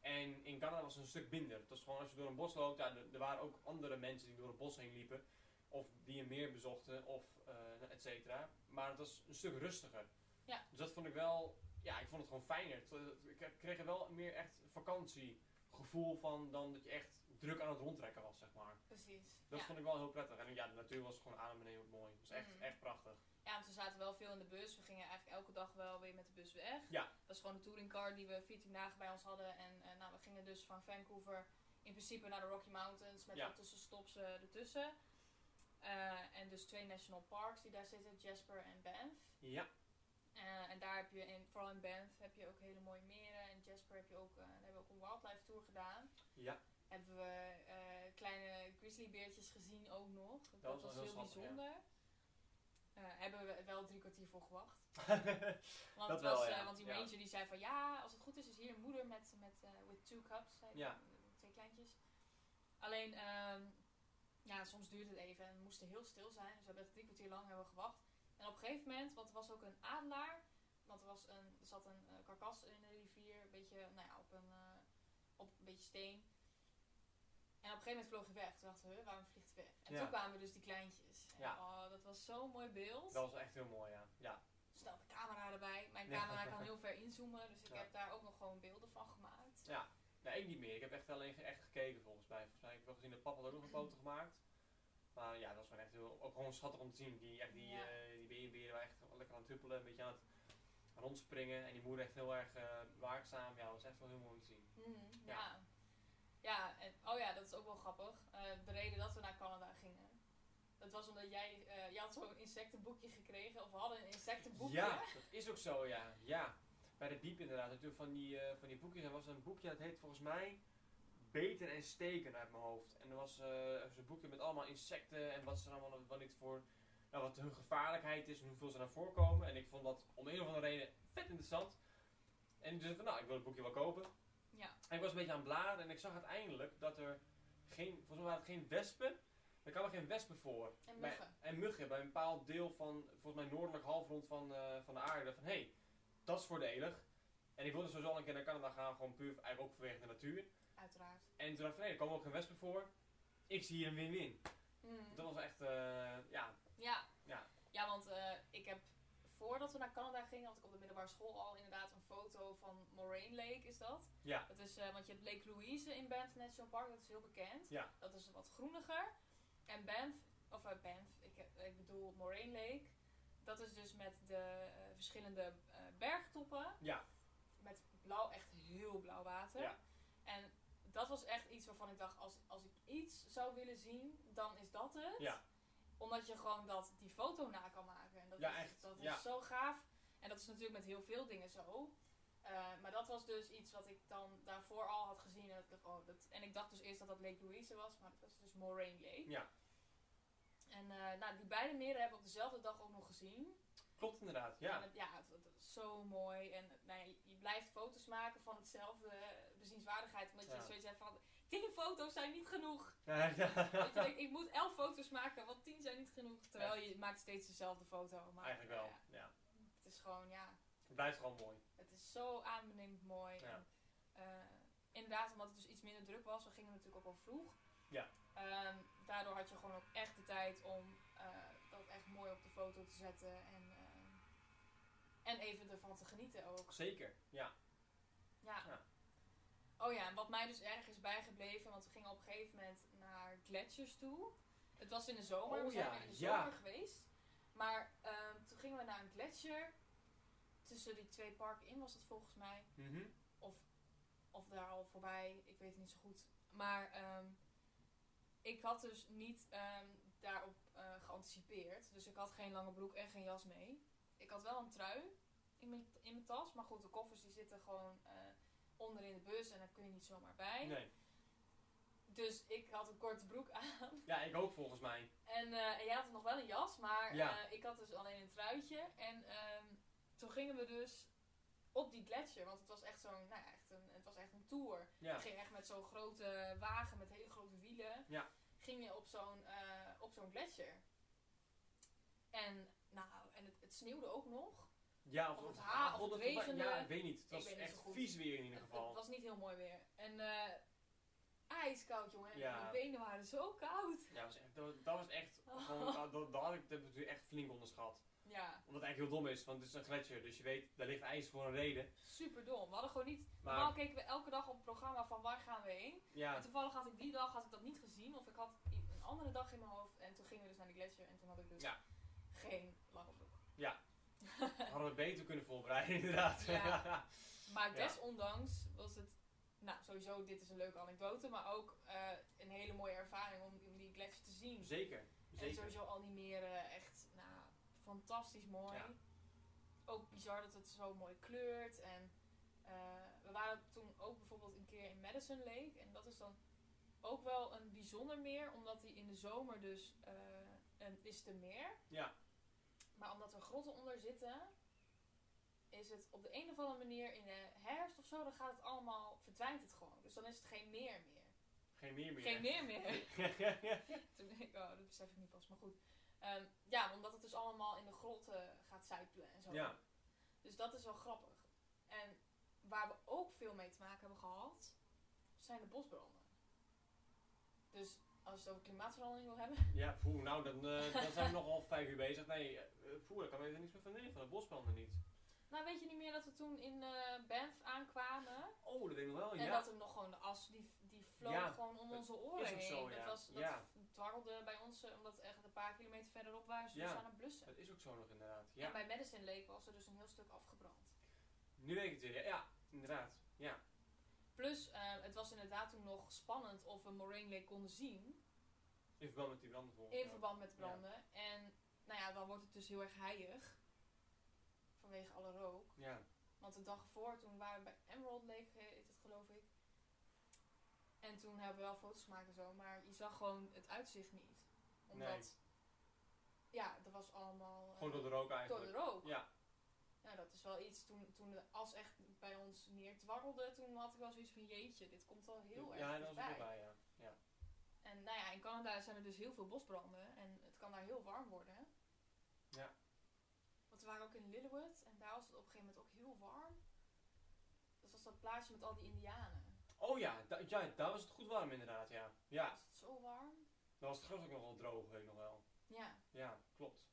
S2: En in Canada was het een stuk minder. Het was gewoon als je door een bos loopt, ja, er, er waren ook andere mensen die door het bos heen liepen. Of die een meer bezochten, of eh nou, et cetera. Maar het was een stuk rustiger.
S1: Ja.
S2: Dus dat vond ik wel, ja, ik vond het gewoon fijner. Het- het- Ik kreeg er wel meer echt vakantiegevoel van dan dat je echt druk aan het rondtrekken was, zeg maar.
S1: Precies.
S2: Dat
S1: ja.
S2: vond ik wel heel prettig. En ja, de natuur was gewoon adembenemend mooi. Het was echt,
S1: Mhm.
S2: echt prachtig.
S1: ja, want we zaten wel veel in de bus. We gingen eigenlijk elke dag wel weer met de bus weg.
S2: Ja.
S1: Dat was gewoon een touringcar die we 14 dagen bij ons hadden. En eh, nou, we gingen dus van Vancouver in principe naar de Rocky Mountains met
S2: Ja.
S1: wat tussenstops eh, ertussen. Eh, en dus twee national parks die daar zitten, Jasper en Banff.
S2: Ja,
S1: Eh, en daar heb je, in, vooral in Banff, heb je ook hele mooie meren. En Jasper heb je ook, eh, daar hebben we ook een wildlife tour gedaan.
S2: ja,
S1: Hebben we eh, kleine grizzlybeertjes gezien ook nog. Dat, was
S2: was wel
S1: heel
S2: heel schattig, ja.
S1: bijzonder. Eh, hebben we wel drie kwartier voor gewacht. Want,
S2: Dat
S1: het was,
S2: wel, ja.
S1: eh, want die
S2: Ja.
S1: ranger die zei van ja, als het goed is, is hier een moeder met, met eh, with two cups, zei
S2: Ja.
S1: die, eh, twee kleintjes. Alleen, ehm, ja, soms duurde het even en we moesten heel stil zijn. Dus we hebben echt drie kwartier lang hebben we gewacht. En op een gegeven moment, want er was ook een adelaar, want er, was een, er zat een eh, karkas in de rivier, een beetje, nou ja, op een, eh, op een beetje steen. En op een gegeven moment vloog hij weg. Toen dachten we, "Huh, waarom vliegt hij weg? En
S2: Ja.
S1: toen kwamen we dus die kleintjes. En
S2: Ja.
S1: oh, dat was zo'n mooi beeld
S2: *laughs* dat was echt heel mooi, ja. Ja,
S1: snel de camera erbij. Mijn
S2: Ja.
S1: camera kan heel ver inzoomen, dus ik
S2: Ja.
S1: heb daar ook nog gewoon beelden van gemaakt.
S2: ja. Nee, ik niet meer. Ik heb echt alleen ge- echt gekeken volgens mij. Volgens mij heb ik wel gezien dat papa had ook
S1: *clears throat*
S2: nog een foto gemaakt. Maar ja, dat was gewoon echt heel, ook gewoon schattig om te zien. Die, echt die,
S1: Ja.
S2: eh, die berenberen waren echt lekker aan het huppelen, een beetje aan het aan het rondspringen. En die moeder echt heel erg eh, waakzaam. Ja, dat was echt wel heel mooi om te zien.
S1: Mhm,
S2: Ja.
S1: ja. Ja, en, oh ja, dat is ook wel grappig. Eh, de reden dat we naar Canada gingen, dat was omdat jij, eh, je had zo'n insectenboekje gekregen, of we hadden een insectenboekje.
S2: Ja, dat is ook zo, ja. ja. Bij de diep inderdaad. Natuurlijk van die, eh, van die boekjes. Er was een boekje dat heet volgens mij Beter en Steken uit mijn hoofd. En er was eh, er was een boekje met allemaal insecten en wat ze er allemaal wat niet voor. Nou, wat hun gevaarlijkheid is en hoeveel ze naar voorkomen. En ik vond dat om een of andere reden vet interessant. En dus van nou, ik wil het boekje wel kopen.
S1: Ja.
S2: En ik was een beetje aan het bladeren en ik zag uiteindelijk dat er geen, volgens mij waren het geen wespen. Er kwamen geen wespen voor.
S1: En
S2: Bij-
S1: muggen.
S2: en muggen bij een bepaald deel van, volgens mij, noordelijk halfrond van, eh, van de aarde. Van hé, hey, dat is voordelig. En ik wilde sowieso al een keer naar Canada gaan, gewoon puur eigenlijk ook vanwege de natuur.
S1: Uiteraard.
S2: En toen dacht ik, van, hé, er komen ook geen wespen voor. Ik zie hier een win-win.
S1: Mhm.
S2: Dat was echt, eh, ja,
S1: Ja.
S2: Ja.
S1: Ja, want eh, ik heb voordat we naar Canada gingen, had ik op de middelbare school al inderdaad een foto van Moraine Lake, is dat?
S2: Ja.
S1: Dat is, eh, want je hebt Lake Louise in Banff National Park, dat is heel bekend.
S2: Ja.
S1: Dat is wat groeniger. En Banff, of eh, Banff, ik, eh, ik bedoel Moraine Lake, dat is dus met de eh, verschillende eh, bergtoppen.
S2: Ja.
S1: Met blauw, echt heel blauw water.
S2: Ja.
S1: En dat was echt iets waarvan ik dacht, als, als ik iets zou willen zien, dan is dat het
S2: ja,
S1: omdat je gewoon dat, die foto na kan maken. En dat
S2: Ja,
S1: is,
S2: echt.
S1: Dat
S2: Ja.
S1: is zo gaaf. En dat is natuurlijk met heel veel dingen zo. Eh, maar dat was dus iets wat ik dan daarvoor al had gezien. En, dat ik, dacht, oh, dat, en ik dacht dus eerst dat dat Lake Louise was, maar dat was dus Moraine Lake.
S2: ja.
S1: En eh, nou, die beide meren hebben we op dezelfde dag ook nog gezien.
S2: Klopt inderdaad,
S1: En
S2: *laughs* ja.
S1: het, ja, het, het is zo mooi. En eh, nou ja, je- je blijft foto's maken van hetzelfde eh, bezienswaardigheid. Omdat je
S2: Ja.
S1: zoiets hebt van, tien foto's zijn niet genoeg. *laughs*
S2: Ja, ja.
S1: Dat je denkt, ik moet elf foto's maken, want tien zijn niet genoeg. Terwijl je maakt steeds dezelfde foto. Maar
S2: Eigenlijk
S1: nou
S2: wel,
S1: ja,
S2: ja.
S1: het is gewoon, ja,
S2: Het blijft gewoon mooi.
S1: het is zo aanbenemend mooi.
S2: Ja.
S1: En, eh, inderdaad, omdat het dus iets minder druk was, we gingen natuurlijk ook al vroeg.
S2: Ja.
S1: Ehm, daardoor had je gewoon ook echt de tijd om eh, dat echt mooi op de foto te zetten. En, eh, en even ervan te genieten ook.
S2: Zeker, ja.
S1: Ja.
S2: Ja.
S1: Oh ja, en wat mij dus erg is bijgebleven, want we gingen op een gegeven moment naar gletsjers toe. Het was in de zomer,
S2: Oh
S1: we zijn
S2: ja,
S1: weer in de
S2: ja.
S1: zomer geweest. Maar ehm, toen gingen we naar een gletsjer. Tussen die twee parken in was dat volgens mij.
S2: Mhm.
S1: Of daar al voorbij, ik weet het niet zo goed. Maar ehm, ik had dus niet ehm, daarop eh, geanticipeerd. Dus ik had geen lange broek en geen jas mee. Ik had wel een trui in mijn, in mijn tas. Maar goed, de koffers die zitten gewoon eh, onder in de bus en daar kun je niet zomaar bij.
S2: Nee.
S1: Dus ik had een korte broek aan.
S2: Ja, ik ook volgens mij.
S1: En, eh, en jij had nog wel een jas, maar
S2: Ja.
S1: eh, ik had dus alleen een truitje. En ehm, toen gingen we dus op die gletsjer. Want het was echt zo'n, nou ja, echt een, het was echt een tour.
S2: Ja.
S1: Het ging echt met zo'n grote wagen met hele grote wielen.
S2: Ja.
S1: Ging je op zo'n, eh, op zo'n gletsjer. En, nou, en het, het sneeuwde ook nog.
S2: Ja, of,
S1: Of
S2: of
S1: het ha- of het
S2: of voorbij-
S1: regende.
S2: Ja, ik weet niet. Het was
S1: weet niet
S2: echt
S1: zo goed.
S2: vies weer in ieder
S1: Het,
S2: geval.
S1: het was niet heel mooi weer. En eh ijskoud, jongen. En
S2: Ja.
S1: Mijn benen waren zo koud.
S2: Ja, was echt- dat, dat was echt.
S1: Oh.
S2: Gewoon, dat, dat, dat had ik dat heb ik echt flink onderschat.
S1: Ja,
S2: Omdat het eigenlijk heel dom is, want het is een gletsjer. Dus je weet, daar ligt ijs voor een reden.
S1: super dom. We hadden gewoon niet... Normaal
S2: Maar
S1: keken we elke dag op het programma van waar gaan we heen. En
S2: ja,
S1: toevallig had ik die dag had ik dat niet gezien. Of ik had i- een andere dag in mijn hoofd. En toen gingen we dus naar die gletsjer. En toen had ik dus
S2: Ja.
S1: geen lange broek.
S2: *laughs* hadden we beter kunnen voorbereiden, *laughs* inderdaad.
S1: Ja. Maar
S2: Ja.
S1: desondanks was het... Nou, sowieso, dit is een leuke anekdote. Maar ook eh, een hele mooie ervaring om, om die gletsjer te zien.
S2: *laughs* zeker.
S1: En
S2: Zeker.
S1: sowieso al die meren. Echt, nou, fantastisch mooi.
S2: Ja.
S1: Ook bizar dat het zo mooi kleurt. En eh, we waren toen ook bijvoorbeeld een keer in Madison Lake. En dat is dan ook wel een bijzonder meer. Omdat die in de zomer dus eh, een, is het een meer.
S2: Ja.
S1: Maar omdat er grotten onder zitten... Is het op de een of andere manier in de herfst of zo, dan gaat het allemaal, verdwijnt het gewoon. Dus dan is het geen meer meer.
S2: Geen meer meer.
S1: Geen meer meer.
S2: meer.
S1: Toen dacht ik, oh, dat besef ik niet pas, maar goed. Ehm, ja, omdat het dus allemaal in de grotten eh, gaat zuipen en zo.
S2: *laughs* ja,
S1: Dus dat is wel grappig. En waar we ook veel mee te maken hebben gehad, zijn de bosbranden. Dus als je het over klimaatverandering wil hebben. *laughs*
S2: ja poeh, nou dan, eh, dan zijn we nogal vijf uur bezig. Nee, eh, poeh, daar kan ik er niks meer van nemen, van de bosbranden niet.
S1: Nou, weet je niet meer dat we toen in eh, Banff aankwamen?
S2: Oh, dat weet ik nog wel,
S1: En
S2: ja.
S1: dat er nog gewoon de as, die, die vloog
S2: Ja,
S1: gewoon om
S2: dat
S1: onze oren
S2: is ook
S1: heen.
S2: zo,
S1: dat
S2: ja.
S1: was, dat
S2: Ja.
S1: dwarrelde bij ons, eh, omdat echt een paar kilometer verderop waren ze
S2: Ja.
S1: dus aan het blussen.
S2: Dat is ook zo nog inderdaad.
S1: En
S2: Ja.
S1: bij Madison Lake was er dus een heel stuk afgebrand.
S2: Nu weet ik het weer. Ja, Ja, inderdaad. Ja.
S1: Plus, eh, het was inderdaad toen nog spannend of we Moraine Lake konden zien
S2: In verband met die branden volgens
S1: in
S2: mij.
S1: verband met branden. En nou ja, dan wordt het dus heel erg heilig vanwege alle rook.
S2: Ja.
S1: Want de dag ervoor, toen waren we bij Emerald Lake, eh, heet het geloof ik. En toen hebben we wel foto's gemaakt en zo, maar je zag gewoon het uitzicht niet. Omdat,
S2: Nee.
S1: ja, er was allemaal... eh,
S2: Gewoon door de rook
S1: door
S2: eigenlijk.
S1: de rook.
S2: Ja.
S1: Nou, dat is wel iets. Toen, toen de as echt bij ons neerdwarrelde, toen had ik wel zoiets van, jeetje, dit komt al heel erg
S2: ja, dat was
S1: dichtbij.
S2: ook bij, ja. ja.
S1: En nou ja, in Canada zijn er dus heel veel bosbranden en het kan daar heel warm worden.
S2: Ja.
S1: Want we waren ook in Lillooet en daar was het op een gegeven moment ook heel warm. Dat was dat plaatsje met al die indianen.
S2: Oh ja, da- ja, daar was het goed warm inderdaad, ja.
S1: Ja.
S2: Ja,
S1: Was het zo warm?
S2: dan was het gras ook nog wel droog, weet ik nog wel.
S1: Ja.
S2: Ja, klopt.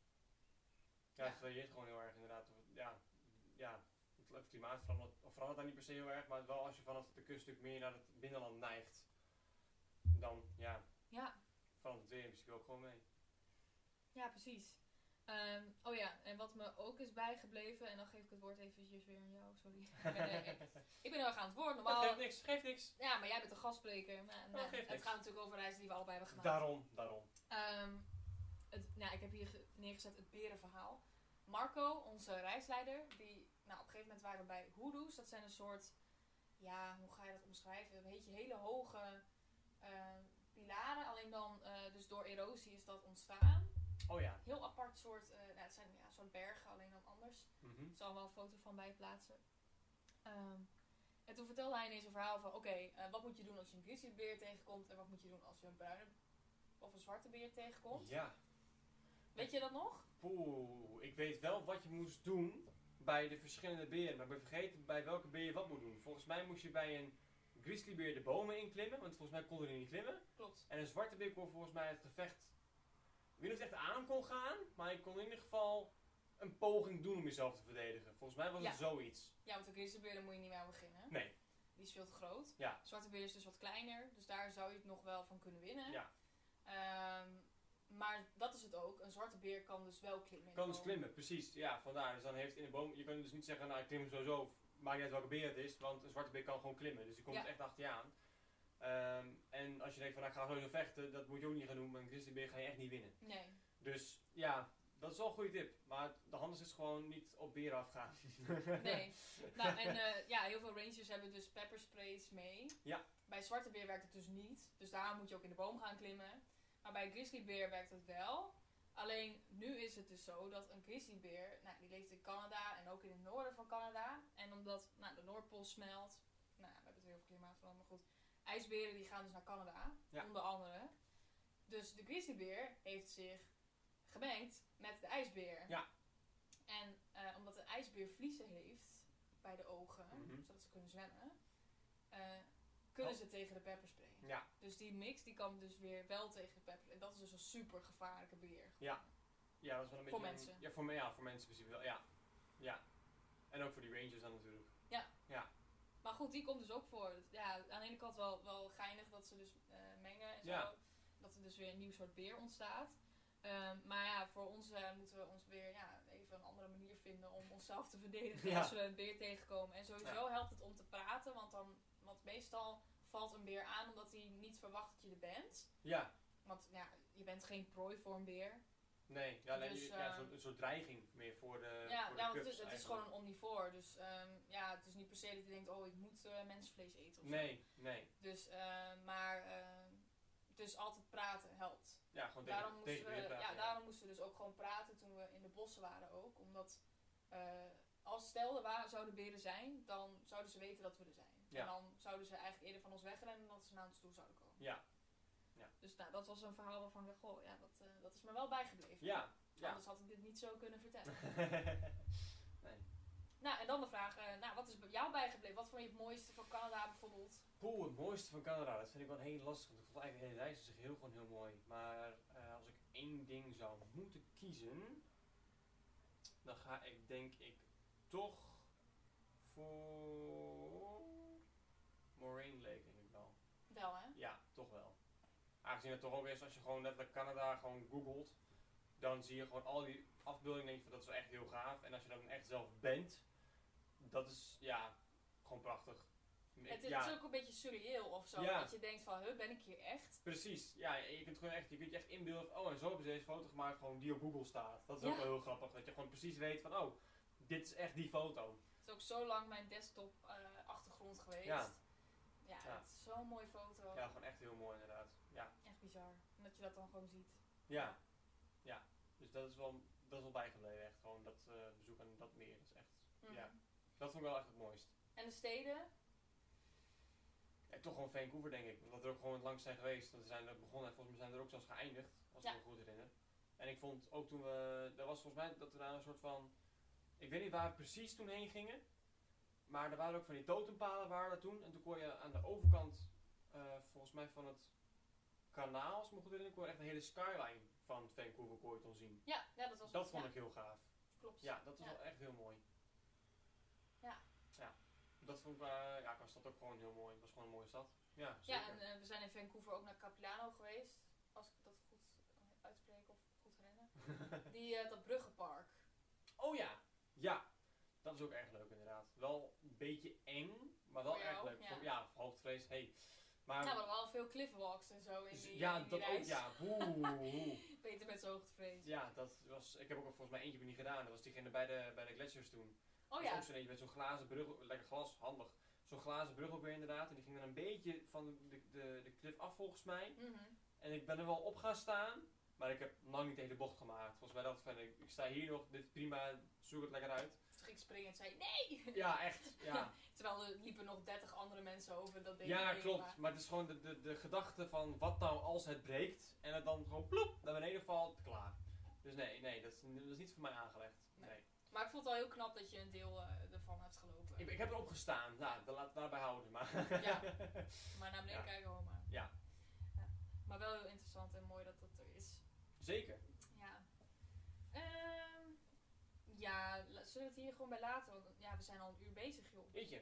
S2: Ja,
S1: Ja.
S2: het varieert gewoon heel erg inderdaad. Of het- Ja, ja het, het klimaat verandert, of verandert daar niet per se heel erg, maar wel als je vanaf de kust natuurlijk meer naar het binnenland neigt, dan ja,
S1: Ja,
S2: verandert het weer in principe ook gewoon mee. *laughs*
S1: ja precies. Ehm, oh ja, en wat me ook is bijgebleven, en dan geef ik het woord eventjes weer aan jou,
S2: *laughs*
S1: sorry. ik, ben, eh, ik ben heel erg aan het woord,
S2: Dat
S1: normaal.
S2: geeft niks, geeft niks.
S1: Ja, maar jij bent de gastspreker. Maar, nou,
S2: geeft
S1: het
S2: niks.
S1: gaat natuurlijk over reizen die we allebei hebben gedaan.
S2: Daarom, daarom.
S1: Ehm, het, nou, ik heb hier ge- neergezet het berenverhaal. Marco, onze reisleider, die, nou, op een gegeven moment waren we bij Hoodoes. Dat zijn een soort, ja, hoe ga je dat omschrijven? Een beetje hele hoge eh, pilaren. Alleen dan, eh, dus door erosie is dat ontstaan.
S2: Oh ja.
S1: Heel apart soort, eh, nou, het zijn ja, een soort bergen, alleen dan anders.
S2: Mhm.
S1: Ik zal wel een foto van bij plaatsen. Ehm, en toen vertelde hij ineens een verhaal van: oké, eh, wat moet je doen als je een grizzlybeer tegenkomt? En wat moet je doen als je een bruine of een zwarte beer tegenkomt?
S2: Ja.
S1: Weet je dat nog?
S2: Poeh, ik weet wel wat je moest doen bij de verschillende beren, maar ik ben vergeten bij welke beer je wat moet doen. Volgens mij moest je bij een grizzlybeer de bomen inklimmen, want volgens mij kon er niet klimmen.
S1: Klopt.
S2: En een zwarte beer kon volgens mij het gevecht. Ik weet niet of het echt aan kon gaan, maar ik kon in ieder geval een poging doen om jezelf te verdedigen. Volgens mij was
S1: Ja.
S2: het zoiets.
S1: Ja, want een grizzlybeer daar moet je niet mee aan beginnen.
S2: Nee.
S1: Die is veel te groot.
S2: Ja.
S1: Zwarte beer is dus wat kleiner, dus daar zou je het nog wel van kunnen winnen.
S2: Ja.
S1: Ehm, maar dat is het ook. Een zwarte beer kan dus wel klimmen. in
S2: Kan
S1: de
S2: dus
S1: boom.
S2: klimmen, precies. Ja, vandaar. Dus dan heeft in de boom. Je kunt dus niet zeggen, nou ik klim sowieso. of Maakt niet uit welke beer het is, want een zwarte beer kan gewoon klimmen. Dus die komt
S1: Ja.
S2: er echt achter je aan. Ehm, en als je denkt van nou, ik ga sowieso vechten, dat moet je ook niet gaan doen, want een grizzlybeer ga je echt niet winnen.
S1: Nee.
S2: Dus ja, dat is wel een goede tip. Maar de handels is gewoon niet op beren afgaan.
S1: *laughs*
S2: *laughs*
S1: Nee. nou, en eh, ja, heel veel rangers hebben dus peppersprays mee.
S2: Ja.
S1: Bij zwarte beer werkt het dus niet. Dus daarom moet je ook in de boom gaan klimmen. Maar bij grizzlybeer werkt het wel. Alleen nu is het dus zo dat een grizzlybeer, nou, die leeft in Canada en ook in het noorden van Canada. En omdat nou, de Noordpool smelt, nou, we hebben het heel veel klimaatverandering, maar goed. IJsberen die gaan dus naar Canada,
S2: Ja.
S1: onder andere. Dus de grizzlybeer heeft zich gemengd met de ijsbeer.
S2: Ja.
S1: En eh, omdat de ijsbeer vliezen heeft bij de ogen,
S2: Mhm.
S1: zodat ze kunnen zwemmen, eh, kunnen
S2: Oh.
S1: ze tegen de pepper springen.
S2: Ja.
S1: Dus die mix die kan dus weer wel tegen de pepper. En dat is dus een super gevaarlijke beer.
S2: Ja. Ja, dat is wel een
S1: Voor
S2: beetje...
S1: mensen.
S2: Ja, voor, me- ja, voor mensen in principe wel, ja. Ja. En ook voor die rangers dan natuurlijk.
S1: Maar goed, die komt dus ook voor. Ja, aan de ene kant wel, wel geinig dat ze dus eh, mengen en zo.
S2: Ja.
S1: Dat er dus weer een nieuw soort beer ontstaat. Ehm, maar ja, voor ons eh, moeten we ons weer ja, even een andere manier vinden om onszelf te verdedigen
S2: Ja.
S1: als we een beer tegenkomen. En sowieso helpt het om te praten, want, dan, want meestal valt een beer aan omdat hij niet verwacht dat je er bent.
S2: Ja.
S1: Want ja, je bent geen prooi voor een beer.
S2: Nee. Ja, alleen
S1: Dus,
S2: die-
S1: eh,
S2: ja, zo'n zo'n dreiging meer voor de
S1: Ja,
S2: voor de
S1: ja want het,
S2: cubs
S1: is- het is
S2: eigenlijk.
S1: gewoon een omnivoor. Dus ehm, ja, het is niet per se dat je denkt, oh, ik moet eh mensenvlees eten of zo.
S2: Nee, nee.
S1: Dus, eh, maar, ehm, dus altijd praten helpt.
S2: Ja, gewoon tegen,
S1: Daarom moesten,
S2: tegen de
S1: we,
S2: wind praten,
S1: ja, daarom moesten we dus ook gewoon praten toen we in de bossen waren ook. Omdat eh, als stel er waren, zouden beren zijn, dan zouden ze weten dat we er zijn.
S2: Ja.
S1: En dan zouden ze eigenlijk eerder van ons wegrennen dan dat ze naar ons toe zouden komen.
S2: Ja. Ja.
S1: Dus nou, dat was een verhaal waarvan ik dacht, goh, ja, dat, eh, dat is me wel bijgebleven.
S2: Ja, *laughs* ja.
S1: Anders had ik dit niet zo kunnen vertellen.
S2: nee.
S1: Nou, en dan de vraag, eh, nou, wat is bij jou bijgebleven? Wat vond je het mooiste van Canada bijvoorbeeld?
S2: Poeh, het mooiste van Canada. Dat vind ik wel heel lastig. Want ik vond eigenlijk de hele reis op zich heel, gewoon heel mooi. Maar eh, als ik één ding zou moeten kiezen, dan ga ik denk ik toch voor Moraine Lake denk ik wel.
S1: Wel, hè?
S2: Ja, toch wel. Aangezien het toch ook is, als je gewoon letterlijk Canada gewoon googelt, dan zie je gewoon al die afbeeldingen en denk je van dat is wel echt heel gaaf. En als je dan echt zelf bent, dat is ja, gewoon prachtig.
S1: Het, is-
S2: ja.
S1: het is ook een beetje surreëel of zo.
S2: Ja.
S1: Dat je denkt van, huh, ben ik hier echt?
S2: Precies, ja, je kunt gewoon echt, je kunt je echt inbeelden van, oh en zo hebben ze deze foto gemaakt gewoon die op Google staat. Dat is ook
S1: Ja.
S2: wel heel grappig, dat je gewoon precies weet van, oh, dit is echt die foto.
S1: Het is ook zo lang mijn desktop eh, achtergrond geweest.
S2: Ja.
S1: Ja,
S2: Ja.
S1: het is zo'n mooie foto.
S2: Ja, gewoon echt heel mooi inderdaad. Ja,
S1: Echt bizar. En dat je dat dan gewoon ziet.
S2: ja, ja. Dus dat is wel, dat is wel bijgebleven echt, gewoon dat eh, bezoek aan dat meer. Dat is echt,
S1: Mhm.
S2: Ja. dat vond ik wel echt het mooist.
S1: En de steden?
S2: En toch gewoon Vancouver denk ik, omdat we er ook gewoon langs zijn geweest. Want we zijn er begonnen en volgens mij zijn we er ook zelfs geëindigd, als
S1: Ja.
S2: ik me goed herinner. En ik vond ook toen we, er was volgens mij dat we daar een soort van, ik weet niet waar we precies toen heen gingen. Maar er waren ook van die totempalen waren er toen. En toen kon je aan de overkant, eh, volgens mij van het kanaal, als ik me goed herinner, kon je echt een hele skyline van Vancouver kon je toen zien.
S1: Ja, ja dat was
S2: Dat vond
S1: ja,
S2: ik heel gaaf.
S1: Klopt.
S2: Ja, dat was
S1: Ja.
S2: wel echt heel mooi.
S1: Ja.
S2: Ja. Dat vond ik, eh, ja, qua stad ook gewoon heel mooi. Het was gewoon een mooie stad. Ja, zeker.
S1: Ja, en eh, we zijn in Vancouver ook naar Capilano geweest. Als ik dat goed eh, uitspreek of goed
S2: *laughs*
S1: herinner. Die, eh, dat bruggenpark.
S2: Oh ja. Ja. Dat is ook erg leuk inderdaad. Wel een beetje eng, maar wel
S1: Voor jou,
S2: erg leuk.
S1: ja.
S2: Voor- Ja, voor hoogtevrees, hey. Maar,
S1: nou, we hadden wel veel cliffwalks en zo in
S2: z-
S1: die,
S2: ja,
S1: in die
S2: dat ook,
S1: reis. *laughs*
S2: ja. Oeh, oeh.
S1: Peter met zijn hoogtevrees.
S2: ja, dat was, ik heb ook volgens mij eentje weer niet gedaan. Dat was diegene bij de, bij de gletsjers toen.
S1: Oh
S2: Dat was
S1: ja,
S2: ook zo'n eentje met zo'n glazen brug, lekker glas, handig. Zo'n glazen brug ook weer inderdaad. En die ging dan een beetje van de, de, de, de cliff af volgens mij.
S1: Mhm.
S2: En ik ben er wel op gaan staan, maar ik heb lang niet tegen de bocht gemaakt. Volgens mij dacht ik van, ik, ik sta hier nog, dit is prima, zoek het lekker uit.
S1: Toen ging ik springen en zei nee!
S2: *laughs* Ja, echt. Ja.
S1: Terwijl er liepen nog 30 andere mensen over dat deed
S2: Ja,
S1: ik niet,
S2: klopt.
S1: maar-
S2: Maar het is gewoon de, de, de gedachte van wat nou als het breekt en het dan gewoon ploep naar beneden valt, klaar. Dus nee, nee, dat is, dat is niet voor mij aangelegd.
S1: Nee.
S2: Nee.
S1: Maar ik vond het wel heel knap dat je een deel eh, ervan hebt gelopen.
S2: Ik, ik heb erop gestaan, nou, dan laat het daarbij houden. Maar
S1: Ja. Maar naar beneden
S2: Ja.
S1: kijken hoor maar.
S2: Ja.
S1: Ja. Maar wel heel interessant en mooi dat dat er is.
S2: *laughs* zeker.
S1: Ja. Ehm, ja, la- zullen we het hier gewoon bij laten? Want ja, we zijn al een uur bezig joh.
S2: Weet je,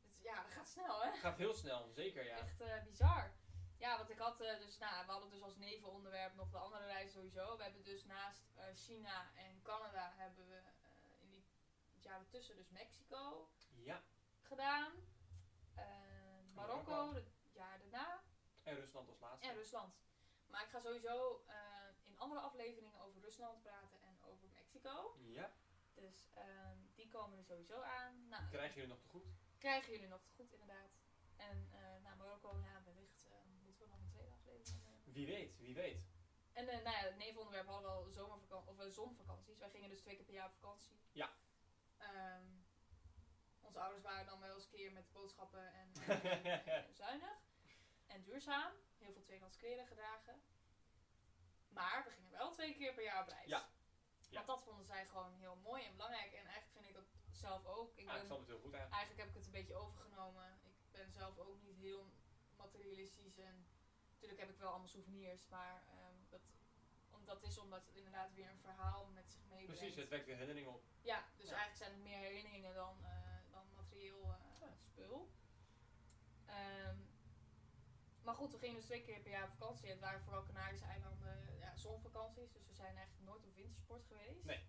S1: Het- ja, dat gaat snel hè?
S2: het gaat heel snel, zeker ja.
S1: Echt eh, bizar. Ja, want ik had eh, dus, nou, we hadden dus als nevenonderwerp nog de andere reis sowieso. We hebben dus naast eh, China en Canada hebben we eh, in die het jaar ertussen dus Mexico
S2: Ja,
S1: gedaan. Eh, Marokko,
S2: Marokko.
S1: het jaar daarna.
S2: en Rusland als laatste.
S1: En Rusland. Maar ik ga sowieso eh, in andere afleveringen over Rusland praten en over Mexico.
S2: ja,
S1: Dus ehm, die komen er sowieso aan. Nou,
S2: krijgen jullie nog te goed?
S1: krijgen jullie nog te goed inderdaad. En eh nou, Marokko, ja, wellicht eh, moeten we nog een tweede aflevering nemen.
S2: Wie weet, wie weet.
S1: En eh, nou ja, het nevenonderwerp hadden we al zomervakantie, of eh, zonvakanties. Wij gingen dus twee keer per jaar op vakantie.
S2: Ja.
S1: Ehm, onze ouders waren dan wel eens een keer met boodschappen
S2: *laughs*
S1: en eh, zuinig. En duurzaam. Heel veel tweedehands kleren gedragen. Maar we gingen wel twee keer per jaar op reis.
S2: Ja. Ja.
S1: Want dat vonden zij gewoon heel mooi en belangrijk. En eigenlijk vind ik dat zelf ook. Ik
S2: Ja, Ah, ik
S1: ben
S2: snap het heel goed eigenlijk.
S1: Eigenlijk heb ik het een beetje overgenomen. Ik ben zelf ook niet heel materialistisch. En natuurlijk heb ik wel allemaal souvenirs, maar ehm, dat, om, dat is omdat het inderdaad weer een verhaal met zich meebrengt.
S2: Precies, het wekt de herinnering op.
S1: Ja, dus
S2: Ja.
S1: eigenlijk zijn het meer herinneringen dan, eh, dan materieel eh, spul. Ehm, maar goed, we gingen dus twee keer per jaar op vakantie. Het waren vooral Canarische eilanden, ja, zonvakanties. Dus we zijn eigenlijk nooit op wintersport geweest.
S2: Nee.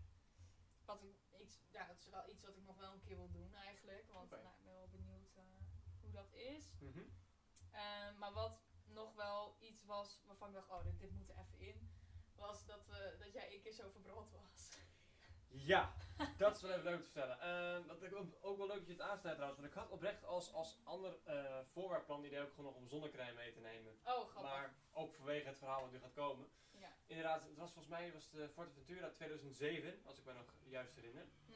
S1: Wat ik, iets, ja, dat is wel iets wat ik nog wel een keer wil doen eigenlijk. Want
S2: Oké.
S1: nou, ik ben wel benieuwd eh, hoe dat is. Ehm, maar wat nog wel iets was waarvan ik dacht, oh, dit, dit moet er even in. Was dat, we, dat jij een keer zo verbrand was. *laughs*
S2: Ja, *laughs* dat is wel even leuk te vertellen. Eh, dat ik ook- ook wel leuk dat je het aansnijdt trouwens, want ik had oprecht als, als ander eh voorwerpplan idee ook gewoon nog om zonnecrème mee te nemen.
S1: Oh, grappig.
S2: Maar ook vanwege het verhaal wat nu gaat komen.
S1: Ja.
S2: Inderdaad, het was volgens mij was de Forteventura 2007, als ik me nog juist herinner.
S1: Hm.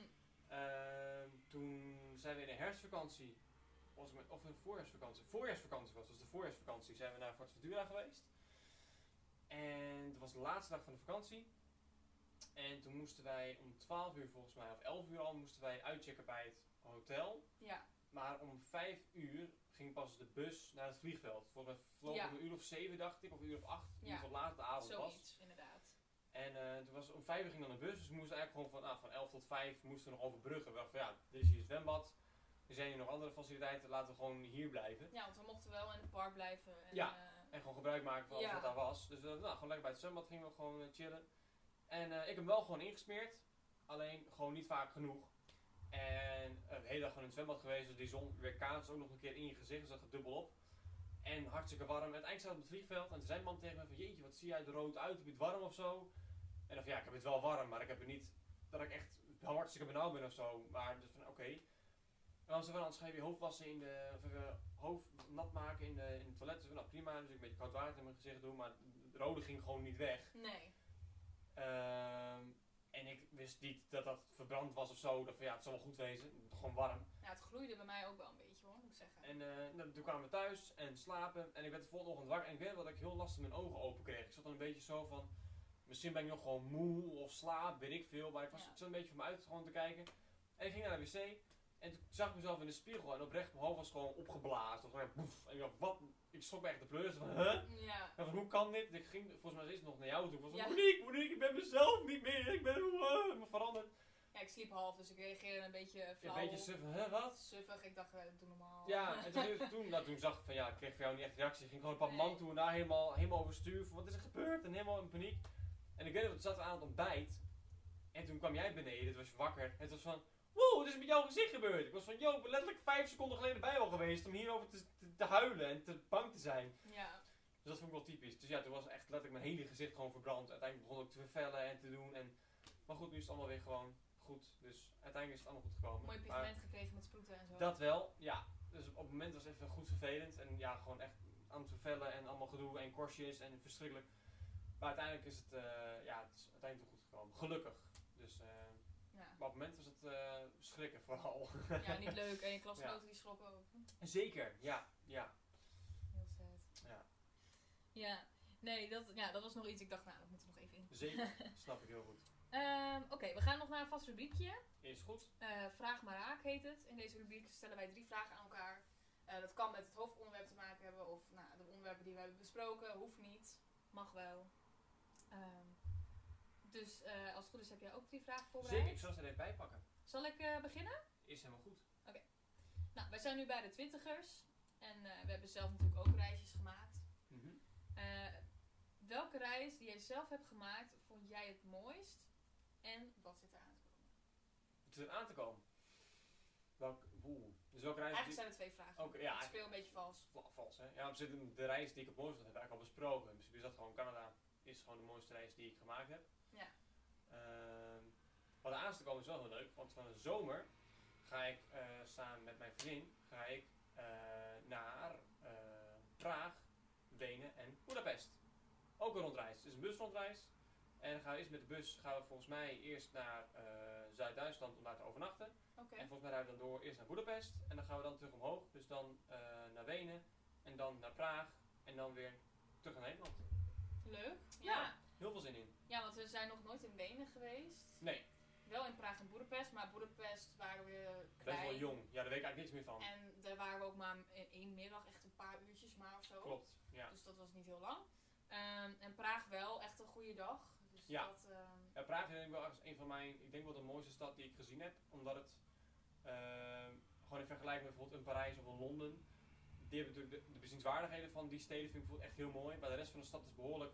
S2: Ehm, toen zijn we in een herfstvakantie, was ik met, of een voorjaarsvakantie. Voorjaarsvakantie was, dus de voorjaarsvakantie zijn we naar Forteventura geweest. En dat was de laatste dag van de vakantie. En toen moesten wij om 12 uur volgens mij, of 11 uur al, moesten wij uitchecken bij het hotel.
S1: Ja,
S2: Maar om vijf uur ging pas de bus naar het vliegveld. Voor een vloog
S1: Ja.
S2: om een uur of zeven, dacht ik, of een uur of acht. In
S1: Ja.
S2: ieder geval laat de avond was.
S1: zoiets, inderdaad.
S2: En eh, toen was, om vijf uur ging dan de bus. Dus we moesten eigenlijk gewoon van, ah, van elf tot vijf moesten we nog overbruggen. We dachten van, ja, er is hier een zwembad. Er zijn hier nog andere faciliteiten. Laten we gewoon hier blijven.
S1: Ja, want we mochten wel in het park blijven. En,
S2: Ja.
S1: eh,
S2: En gewoon gebruik maken van alles
S1: Ja.
S2: wat daar was. Dus we dachten, nou, gewoon lekker bij het zwembad gingen we gewoon eh, chillen. En eh, ik heb hem wel gewoon ingesmeerd. Alleen gewoon niet vaak genoeg. En eh, de hele dag gewoon in het zwembad geweest. Dus die zon weer kaatst ook nog een keer in je gezicht. Dus dat gaat dubbel op. En hartstikke warm. En uiteindelijk zat ik op het vliegveld. En toen zei man tegen me van, jeetje, wat zie jij er rood uit? Heb je het warm of zo? En dan van, ja, ik heb het wel warm. Maar ik heb het niet dat ik echt hartstikke benauwd ben of zo. Maar dus van, oké. En dan zei van, anders ga je je hoofd wassen in de, of even hoofd nat maken in, de, in het toilet. Dus ik, nou prima, dus ik een beetje koud water in mijn gezicht doen, maar het rode ging gewoon niet weg.
S1: nee.
S2: Ehm, en ik wist niet dat dat verbrand was of zo. Dat van, ja, het zal wel goed wezen, gewoon warm.
S1: Ja, het gloeide bij mij ook wel een beetje hoor, moet ik zeggen.
S2: En eh, nou, toen kwamen we thuis en slapen. En ik werd de volgende ochtend wakker. En ik weet wel dat ik heel lastig mijn ogen open kreeg. Ik zat dan een beetje zo van. Misschien ben ik nog gewoon moe of slaap, weet ik veel. Maar ik was
S1: Ja.
S2: ik zat een beetje voor me uit gewoon te kijken. En ik ging naar de wc. En toen zag ik mezelf in de spiegel. En oprecht, mijn hoofd was gewoon opgeblazen. Of gewoon boef. En ik dacht, wat? Ik schrok me echt de pleurs. Van, huh?
S1: Ja.
S2: En van, hoe kan dit? Ik ging volgens mij steeds nog naar jou toe. Ik was van,
S1: Ja.
S2: Monique, Monique, ik ben mezelf niet meer. Ik ben eh, me veranderd.
S1: ja, ik sliep half, dus ik reageerde een beetje
S2: Een
S1: flauw.
S2: beetje suf van, huh, wat?
S1: suffig. Ik dacht, eh, doe normaal. *laughs*
S2: Ja, en toen, toen, nou, toen zag ik van ja, ik kreeg van jou niet echt reactie. Ik ging gewoon op een
S1: Nee.
S2: man toe en daar helemaal, helemaal overstuur. Van, wat is er gebeurd? En helemaal in paniek. En ik weet nog, toen zaten we aan het ontbijt. En toen kwam jij beneden, toen was je wakker. En het was van, wow, wat is er met jouw gezicht gebeurd? Ik was van, yo, ik ben letterlijk vijf seconden geleden bij al geweest om hierover te, te, te huilen en te bang te zijn.
S1: Ja.
S2: Dus dat vond ik wel typisch. Dus ja, toen was echt letterlijk mijn hele gezicht gewoon verbrand. Uiteindelijk begon ik te vervellen en te doen. En, maar goed, nu is het allemaal weer gewoon goed. Dus uiteindelijk is het allemaal goed gekomen.
S1: Mooi
S2: Maar-
S1: pigment gekregen met sproeten en zo.
S2: dat wel, ja. Dus op het moment was het even goed vervelend. En ja, gewoon echt aan het vervellen en allemaal gedoe en korstjes en verschrikkelijk. Maar uiteindelijk is het, eh, ja, het is uiteindelijk wel goed gekomen. Gelukkig. Dus, eh,
S1: Ja.
S2: maar op het moment was het eh, schrikken vooral.
S1: ja, niet leuk. En je klasgenoten die schrokken ook.
S2: *laughs*
S1: Hm,
S2: Zeker, ja. ja.
S1: Heel sad.
S2: Ja.
S1: Ja. Nee, dat, ja, dat was nog iets. Ik dacht, nou, dat moet er nog even in.
S2: Zeker, *laughs* snap ik heel goed.
S1: Ehm, Oké, we gaan nog naar een vast rubriekje.
S2: Is goed.
S1: Eh, vraag maar raak heet het. In deze rubriek stellen wij drie vragen aan elkaar. Eh, dat kan met het hoofdonderwerp te maken hebben of nou, de onderwerpen die we hebben besproken. Hoeft niet, mag wel. Ehm, dus eh, als het goed is heb jij ook drie vragen voorbereid.
S2: Zeker, ik zal ze er even bij pakken.
S1: Zal ik eh, beginnen?
S2: Is helemaal goed.
S1: Nou, wij zijn nu bij de twintigers. En eh, we hebben zelf natuurlijk ook reisjes gemaakt.
S2: Mhm.
S1: Eh, welke reis die jij zelf hebt gemaakt vond jij het mooist? En wat zit er aan te komen?
S2: Het is er aan te komen. Welk, oeh. Dus welke reis...
S1: Eigenlijk zijn er twee vragen.
S2: Oké, Oh, ja,
S1: ik speel een beetje vals.
S2: Va- Vals, hè? Ja, op zich, de reis die ik op Mooistand heb eigenlijk al besproken. In principe is dat gewoon Canada. Is gewoon de mooiste reis die ik gemaakt heb.
S1: Ja.
S2: Ehm, wat er aan is te komen is wel heel leuk, want van de zomer ga ik eh, samen met mijn vriendin ga ik, eh, naar eh, Praag, Wenen en Budapest. Ook een rondreis. Het is een busrondreis. En dan gaan we eerst met de bus gaan we volgens mij eerst naar eh, Zuid-Duitsland om daar te overnachten.
S1: Oké.
S2: En volgens mij rijden we dan door eerst naar Boedapest. En dan gaan we dan terug omhoog. Dus dan eh, naar Wenen. En dan naar Praag. En dan weer terug naar Nederland.
S1: Leuk.
S2: Ja.
S1: Ja.
S2: Heel veel zin in.
S1: ja, want we zijn nog nooit in Wenen geweest.
S2: Nee,
S1: Wel in Praag en Boedapest, maar Boedapest waren we
S2: best wel
S1: klein.
S2: jong. Ja, daar weet ik eigenlijk niks meer van.
S1: En daar waren we ook maar in één middag, echt een paar uurtjes maar of zo.
S2: Klopt. Ja.
S1: Dus dat was niet heel lang. Ehm, en Praag wel, echt een goede dag. Dus
S2: Ja.
S1: dat, ehm,
S2: Ja, Praag is denk ik wel echt een van mijn, ik denk wel de mooiste stad die ik gezien heb. Omdat het, ehm, gewoon in vergelijking met bijvoorbeeld een Parijs of een Londen. Die hebben natuurlijk de, de bezienswaardigheden van die steden vind ik bijvoorbeeld echt heel mooi. Maar de rest van de stad is behoorlijk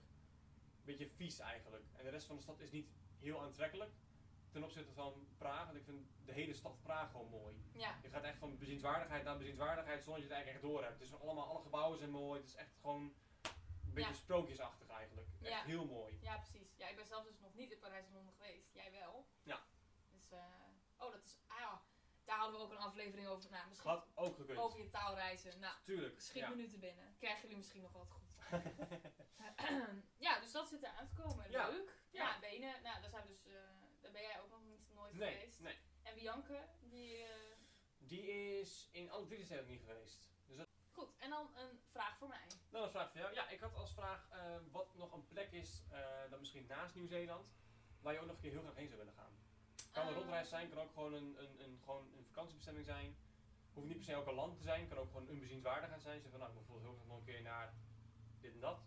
S2: een beetje vies eigenlijk. En de rest van de stad is niet heel aantrekkelijk ten opzichte van Praag. Want ik vind de hele stad Praag gewoon mooi.
S1: ja,
S2: Je gaat echt van bezienswaardigheid naar bezienswaardigheid zonder dat je het eigenlijk echt door hebt. Het is allemaal, alle gebouwen zijn mooi. Het is echt gewoon een beetje
S1: Ja.
S2: sprookjesachtig eigenlijk. Echt
S1: Ja.
S2: heel mooi.
S1: ja, precies. Ja, ik ben zelf dus nog niet in Parijs en Londen geweest. Jij wel.
S2: Ja.
S1: Dus, eh, oh, dat is, ah, ja. daar hadden we ook een aflevering over. Nou, misschien
S2: Had ook gekund.
S1: over je taalreizen. Nou,
S2: Tuurlijk.
S1: schiet
S2: ja.
S1: minuten binnen. Krijgen jullie misschien nog wat
S2: *laughs*
S1: goed. *clears throat* ja, dus dat zit eraan te komen.
S2: Ja.
S1: Leuk.
S2: Ja.
S1: Ja, Wenen. Nou, daar zijn we dus, eh, daar ben jij ook nog niet, nooit
S2: Nee,
S1: geweest.
S2: nee.
S1: En Bianca, die... eh,
S2: Die is in alle drie de steden niet geweest. Dus dat,
S1: Goed, en dan een vraag voor mij.
S2: dan een vraag voor jou. Ja, ik had als vraag eh, wat nog een plek is, eh dan misschien naast Nieuw-Zeeland, waar je ook nog een keer heel graag heen zou willen gaan. Kan een
S1: Eh,
S2: rondreis zijn, kan ook gewoon een, een, een, gewoon een vakantiebestemming zijn. Hoeft niet per se ook een land te zijn, kan ook gewoon een bezienswaardigheid zijn. Zeg van, nou, ik wil bijvoorbeeld heel graag nog een keer naar dit en dat.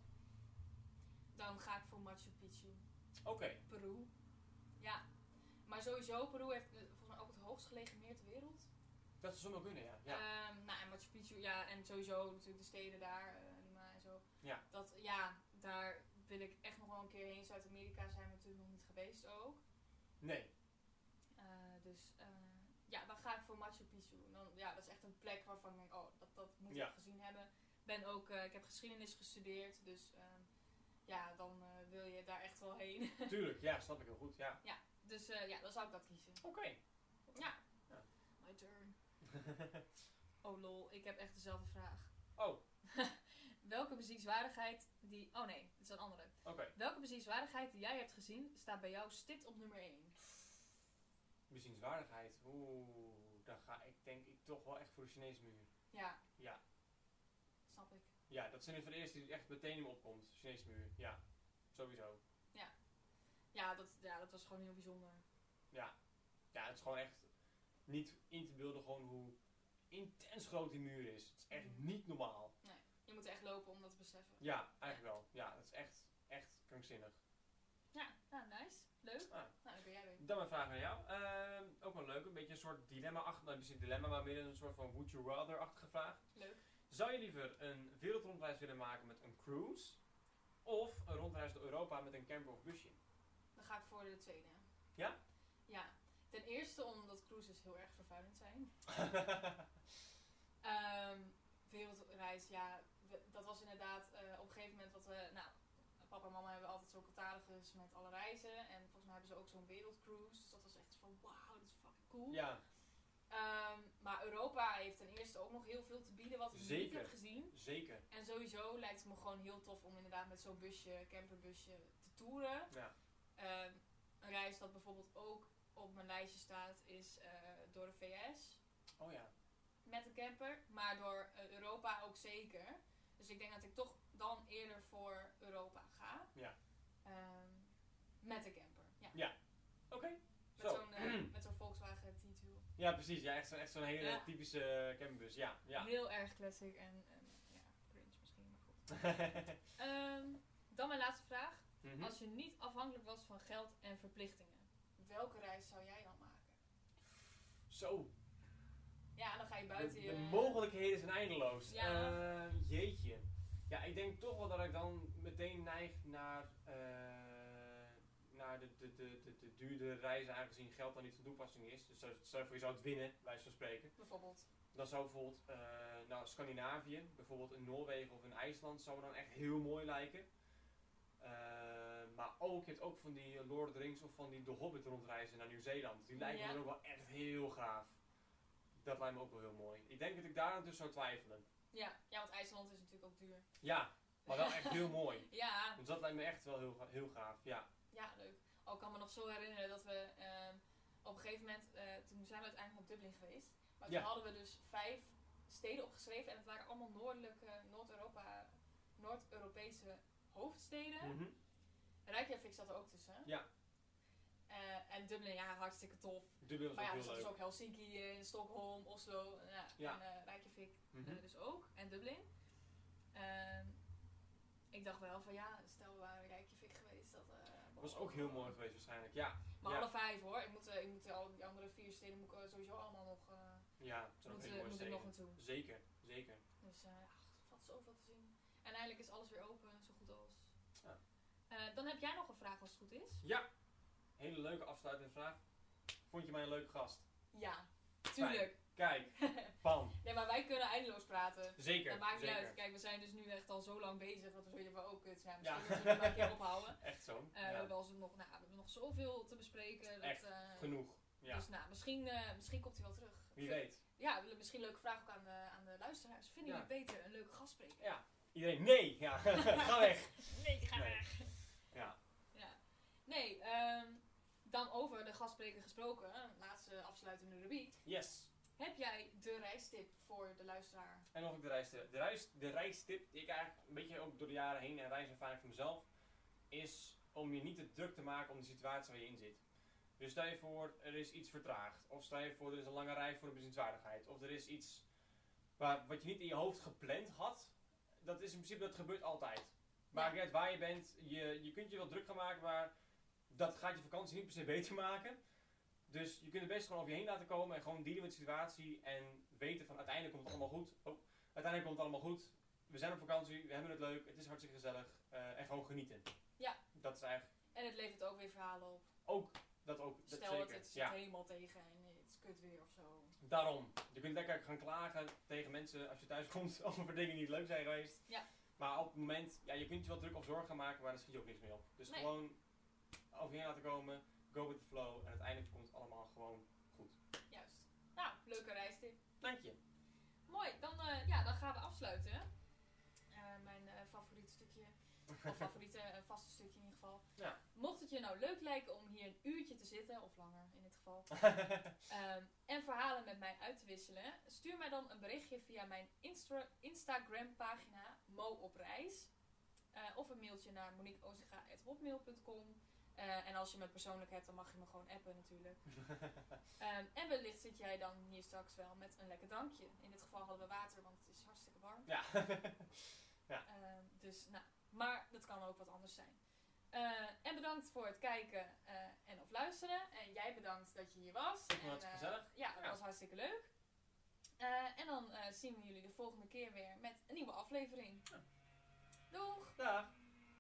S1: Dan ga ik voor Machu Picchu.
S2: Oké,
S1: Peru. Ja. Maar sowieso, Peru heeft eh, volgens mij ook het hoogst gelegen meer ter wereld.
S2: dat zou zomaar kunnen, ja. ja.
S1: Ehm, nou, en Machu Picchu, ja, en sowieso natuurlijk de steden daar, eh, Lima en zo.
S2: Ja.
S1: Dat, ja, daar wil ik echt nog wel een keer heen. Zuid-Amerika zijn we natuurlijk nog niet geweest ook.
S2: Nee,
S1: Eh, dus, eh, ja, dan ga ik voor Machu Picchu. Dan, ja, dat is echt een plek waarvan ik denk, oh, dat, dat moet
S2: Ja.
S1: ik gezien hebben. Ben ook, eh, ik heb geschiedenis gestudeerd, dus ehm, ja, dan eh, wil je daar echt wel heen. *laughs*
S2: tuurlijk, ja, snap ik heel goed, ja.
S1: Dus eh, ja, dan zou ik dat kiezen.
S2: Oké.
S1: *laughs* Ja.
S2: Ja.
S1: My turn. Oh lol, ik heb echt dezelfde vraag.
S2: oh,
S1: Welke bezienswaardigheid die... Oh nee, dat is een andere.
S2: oké.
S1: Welke bezienswaardigheid die jij hebt gezien staat bij jou stipt op nummer 1?
S2: Bezienswaardigheid. Oeh, dan ga ik denk ik toch wel echt voor de Chinese muur.
S1: Ja.
S2: Ja.
S1: Snap ik.
S2: Ja, dat zijn de van de eerste die echt meteen in me opkomt. Chinese muur, ja. Sowieso.
S1: Ja dat, ja, dat was gewoon heel bijzonder.
S2: Ja, het is gewoon echt niet in te beelden gewoon hoe intens groot die muur is. Het is echt
S1: Mhm.
S2: niet normaal.
S1: Je moet er echt lopen om dat te beseffen.
S2: Ja, eigenlijk wel. Ja, het is echt, echt krankzinnig.
S1: Ja, nou nice. Leuk.
S2: Ah.
S1: Nou, dan ben jij weer.
S2: Dan mijn vraag aan jou. Ehm, ook wel leuk, een beetje een soort dilemma achter. Nou, misschien dilemma, maar meer een soort van would you rather-achtige vraag.
S1: Leuk.
S2: Zou je liever een wereldrondreis willen maken met een cruise? Of een rondreis door Europa met een camper of *laughs* busje?
S1: Dan ga ik voor de tweede.
S2: Ja?
S1: Ja. Ten eerste omdat cruises heel erg vervuilend zijn. Ehm, wereldreis, ja, we- dat was inderdaad eh, op een gegeven moment wat we. Nou, papa en mama hebben altijd zo'n catalogus met alle reizen. En volgens mij hebben ze ook zo'n wereldcruise. Dus dat was echt van wauw, dat is fucking cool.
S2: ja,
S1: Ehm, maar Europa heeft ten eerste ook nog heel veel te bieden wat ik niet
S2: Zeker.
S1: heb gezien.
S2: zeker.
S1: En sowieso lijkt het me gewoon heel tof om inderdaad met zo'n busje, camperbusje, te toeren.
S2: Ja.
S1: Ehm, een reis dat bijvoorbeeld ook op mijn lijstje staat is eh, door de VS
S2: Oh ja.
S1: met de camper, maar door eh, Europa ook zeker. Dus ik denk dat ik toch dan eerder voor Europa ga.
S2: Ja.
S1: Ehm, met de camper. Ja.
S2: Oké.
S1: Met
S2: Zo.
S1: zo'n
S2: *clears throat*
S1: eh, met zo'n Volkswagen T2.
S2: Ja, precies. Ja, echt zo'n echt zo'n hele
S1: Ja.
S2: typische eh, camperbus. Ja, ja.
S1: Heel erg classic en, en ja, cringe misschien, maar goed. Ehm, dan mijn laatste vraag.
S2: *laughs* Mhm.
S1: Als je niet afhankelijk was van geld en verplichtingen, welke reis zou jij dan maken?
S2: Zo,
S1: Ja, dan ga je
S2: de,
S1: buiten je...
S2: de mogelijkheden zijn eindeloos.
S1: Ja.
S2: Eh, jeetje. Ja, ik denk toch wel dat ik dan meteen neig naar, eh, naar de, de, de, de, de duurdere reizen, aangezien geld dan niet van toepassing is. Dus stel voor je zou het winnen, wijs van spreken.
S1: Bijvoorbeeld.
S2: Dan zou bijvoorbeeld eh nou, Scandinavië, bijvoorbeeld in Noorwegen of in IJsland, zou me dan echt heel mooi lijken. Eh, maar ook, je hebt ook van die eh, Lord of the Rings of van die The Hobbit rondreizen naar Nieuw-Zeeland. Die lijken
S1: Ja.
S2: me dan ook wel echt heel gaaf. Dat lijkt me ook wel heel mooi. Ik denk dat ik daar aan dus zou twijfelen.
S1: Ja. ja, want IJsland is natuurlijk ook duur.
S2: Ja, maar wel echt heel mooi.
S1: Ja,
S2: Dus Dus dat lijkt me echt wel heel, ga- heel gaaf. Ja.
S1: Ja, leuk. Oh, ik kan me nog zo herinneren dat we ehm, op een gegeven moment, eh, toen zijn we uiteindelijk naar Dublin geweest. Maar toen
S2: Ja.
S1: hadden we dus vijf steden opgeschreven en het waren allemaal noordelijke, Noord-Europa, Noord-Europese hoofdsteden.
S2: Mhm.
S1: Reykjavik zat er ook tussen.
S2: Ja.
S1: Eh, en Dublin, ja, hartstikke tof.
S2: Dubbel is
S1: Maar
S2: ook
S1: ja, er
S2: heel
S1: zat
S2: leuk.
S1: dus ook Helsinki in, Stockholm, Oslo ja,
S2: Ja.
S1: en eh Reykjavik eh,
S2: Mhm.
S1: dus ook. En Dublin. Ehm, ik dacht wel van ja, stel we waren in Reykjavik geweest. Dat eh,
S2: Dat was ook heel mooi geweest waarschijnlijk. Ja.
S1: Maar
S2: Ja.
S1: alle vijf hoor. Ik moet, eh, ik moet al die andere vier steden moet ik, eh, sowieso allemaal nog, eh,
S2: Ja, het zijn ook
S1: moet,
S2: hele
S1: eh,
S2: mooie
S1: moet ik nog
S2: steden.
S1: naartoe.
S2: Zeker, zeker.
S1: Dus eh ach, wat zoveel te zien. En eindelijk is alles weer open, zo goed als.
S2: Ja.
S1: Eh, dan heb jij nog een vraag als het goed is.
S2: Ja. Hele leuke afsluitende vraag. Vond je mij een leuke gast?
S1: Ja, tuurlijk.
S2: Kijk,
S1: *laughs*
S2: bam.
S1: nee, maar wij kunnen eindeloos praten.
S2: Zeker.
S1: Dat maakt niet
S2: zeker.
S1: uit. Kijk, we zijn dus nu echt al zo lang bezig dat we zoiets van ook kut zijn.
S2: Ja.
S1: Misschien moeten we het maar een
S2: *laughs*
S1: keer ophouden.
S2: Echt zo.
S1: Eh,
S2: Ja.
S1: we, hebben al zo nog, nou, we hebben nog zoveel te bespreken. Dat,
S2: Echt,
S1: eh,
S2: Genoeg. Ja.
S1: Dus nou, misschien, eh, misschien komt hij wel terug.
S2: Wie weet.
S1: Ja, we- misschien een leuke vraag ook aan de, aan de luisteraars. Vinden
S2: Ja.
S1: jullie beter een leuke gastspreker?
S2: Ja. Iedereen, nee. Ja. *laughs* Ga weg.
S1: *laughs* Nee, ga
S2: Nee.
S1: weg.
S2: Ja.
S1: Ja. Nee, ehm, dan over de gastspreker gesproken. eh, Laatste afsluitende rubriek.
S2: Yes.
S1: Heb jij de reistip voor de luisteraar?
S2: En of ik de reis, de reis, de reistip die ik eigenlijk een beetje ook door de jaren heen en reiservaring van mezelf, is om je niet te druk te maken om de situatie waar je in zit. Dus stel je voor, er is iets vertraagd. Of stel je voor, er is een lange rij voor een bezienswaardigheid. Of er is iets waar, wat je niet in je hoofd gepland had. Dat is in principe, dat gebeurt altijd. Maakt niet uit waar je bent. Je, je kunt je wel druk gaan maken, maar dat gaat je vakantie niet per se beter maken. Dus je kunt het best gewoon over je heen laten komen en gewoon dealen met de situatie. En weten van uiteindelijk komt het allemaal goed. Oh, uiteindelijk komt het allemaal goed. We zijn op vakantie, we hebben het leuk, het is hartstikke gezellig. eh, en gewoon genieten.
S1: Ja.
S2: Dat is eigenlijk
S1: En het levert ook weer verhalen op.
S2: ook, dat ook, dat
S1: Stel
S2: zeker.
S1: dat het zit
S2: ja.
S1: helemaal tegen en het is kut weer of zo.
S2: Daarom. Je kunt lekker gaan klagen tegen mensen als je thuis *laughs* komt over dingen die niet leuk zijn geweest.
S1: Ja.
S2: Maar op het moment, ja, je kunt je wel druk of zorgen gaan maken, maar daar schiet je ook niks mee op. Dus
S1: Nee.
S2: gewoon over je heen laten komen, go with the flow en uiteindelijk komt het allemaal gewoon goed.
S1: Juist. Nou, leuke reistip.
S2: Dank je. *laughs*
S1: Mooi, dan, eh, ja, dan gaan we afsluiten. Eh, mijn eh, favoriete stukje.
S2: *laughs*
S1: Of favoriete eh, vaste stukje in ieder geval.
S2: Ja.
S1: Mocht het je nou leuk lijken om hier een uurtje te zitten, of langer in dit geval, ehm, en verhalen met mij uit te wisselen, stuur mij dan een berichtje via mijn Instra- Instagram pagina Mo op reis. Eh, of een mailtje naar moniqueozinga.hotmail.com. Eh, en als je me persoonlijk hebt, dan mag je me gewoon appen natuurlijk. Ehm, en wellicht zit jij dan hier straks wel met een lekker drankje. In dit geval hadden we water, want het is hartstikke warm.
S2: ja. *laughs*
S1: Ehm, dus, nou, maar dat kan ook wat anders zijn. Eh, en bedankt voor het kijken eh, en of luisteren. En jij bedankt dat je hier was.
S2: Ik vond
S1: En,
S2: het
S1: eh,
S2: gezellig.
S1: Ja, dat
S2: Ja.
S1: was hartstikke leuk. Eh, en dan eh, zien we jullie de volgende keer weer met een nieuwe aflevering. Doeg!
S2: Dag.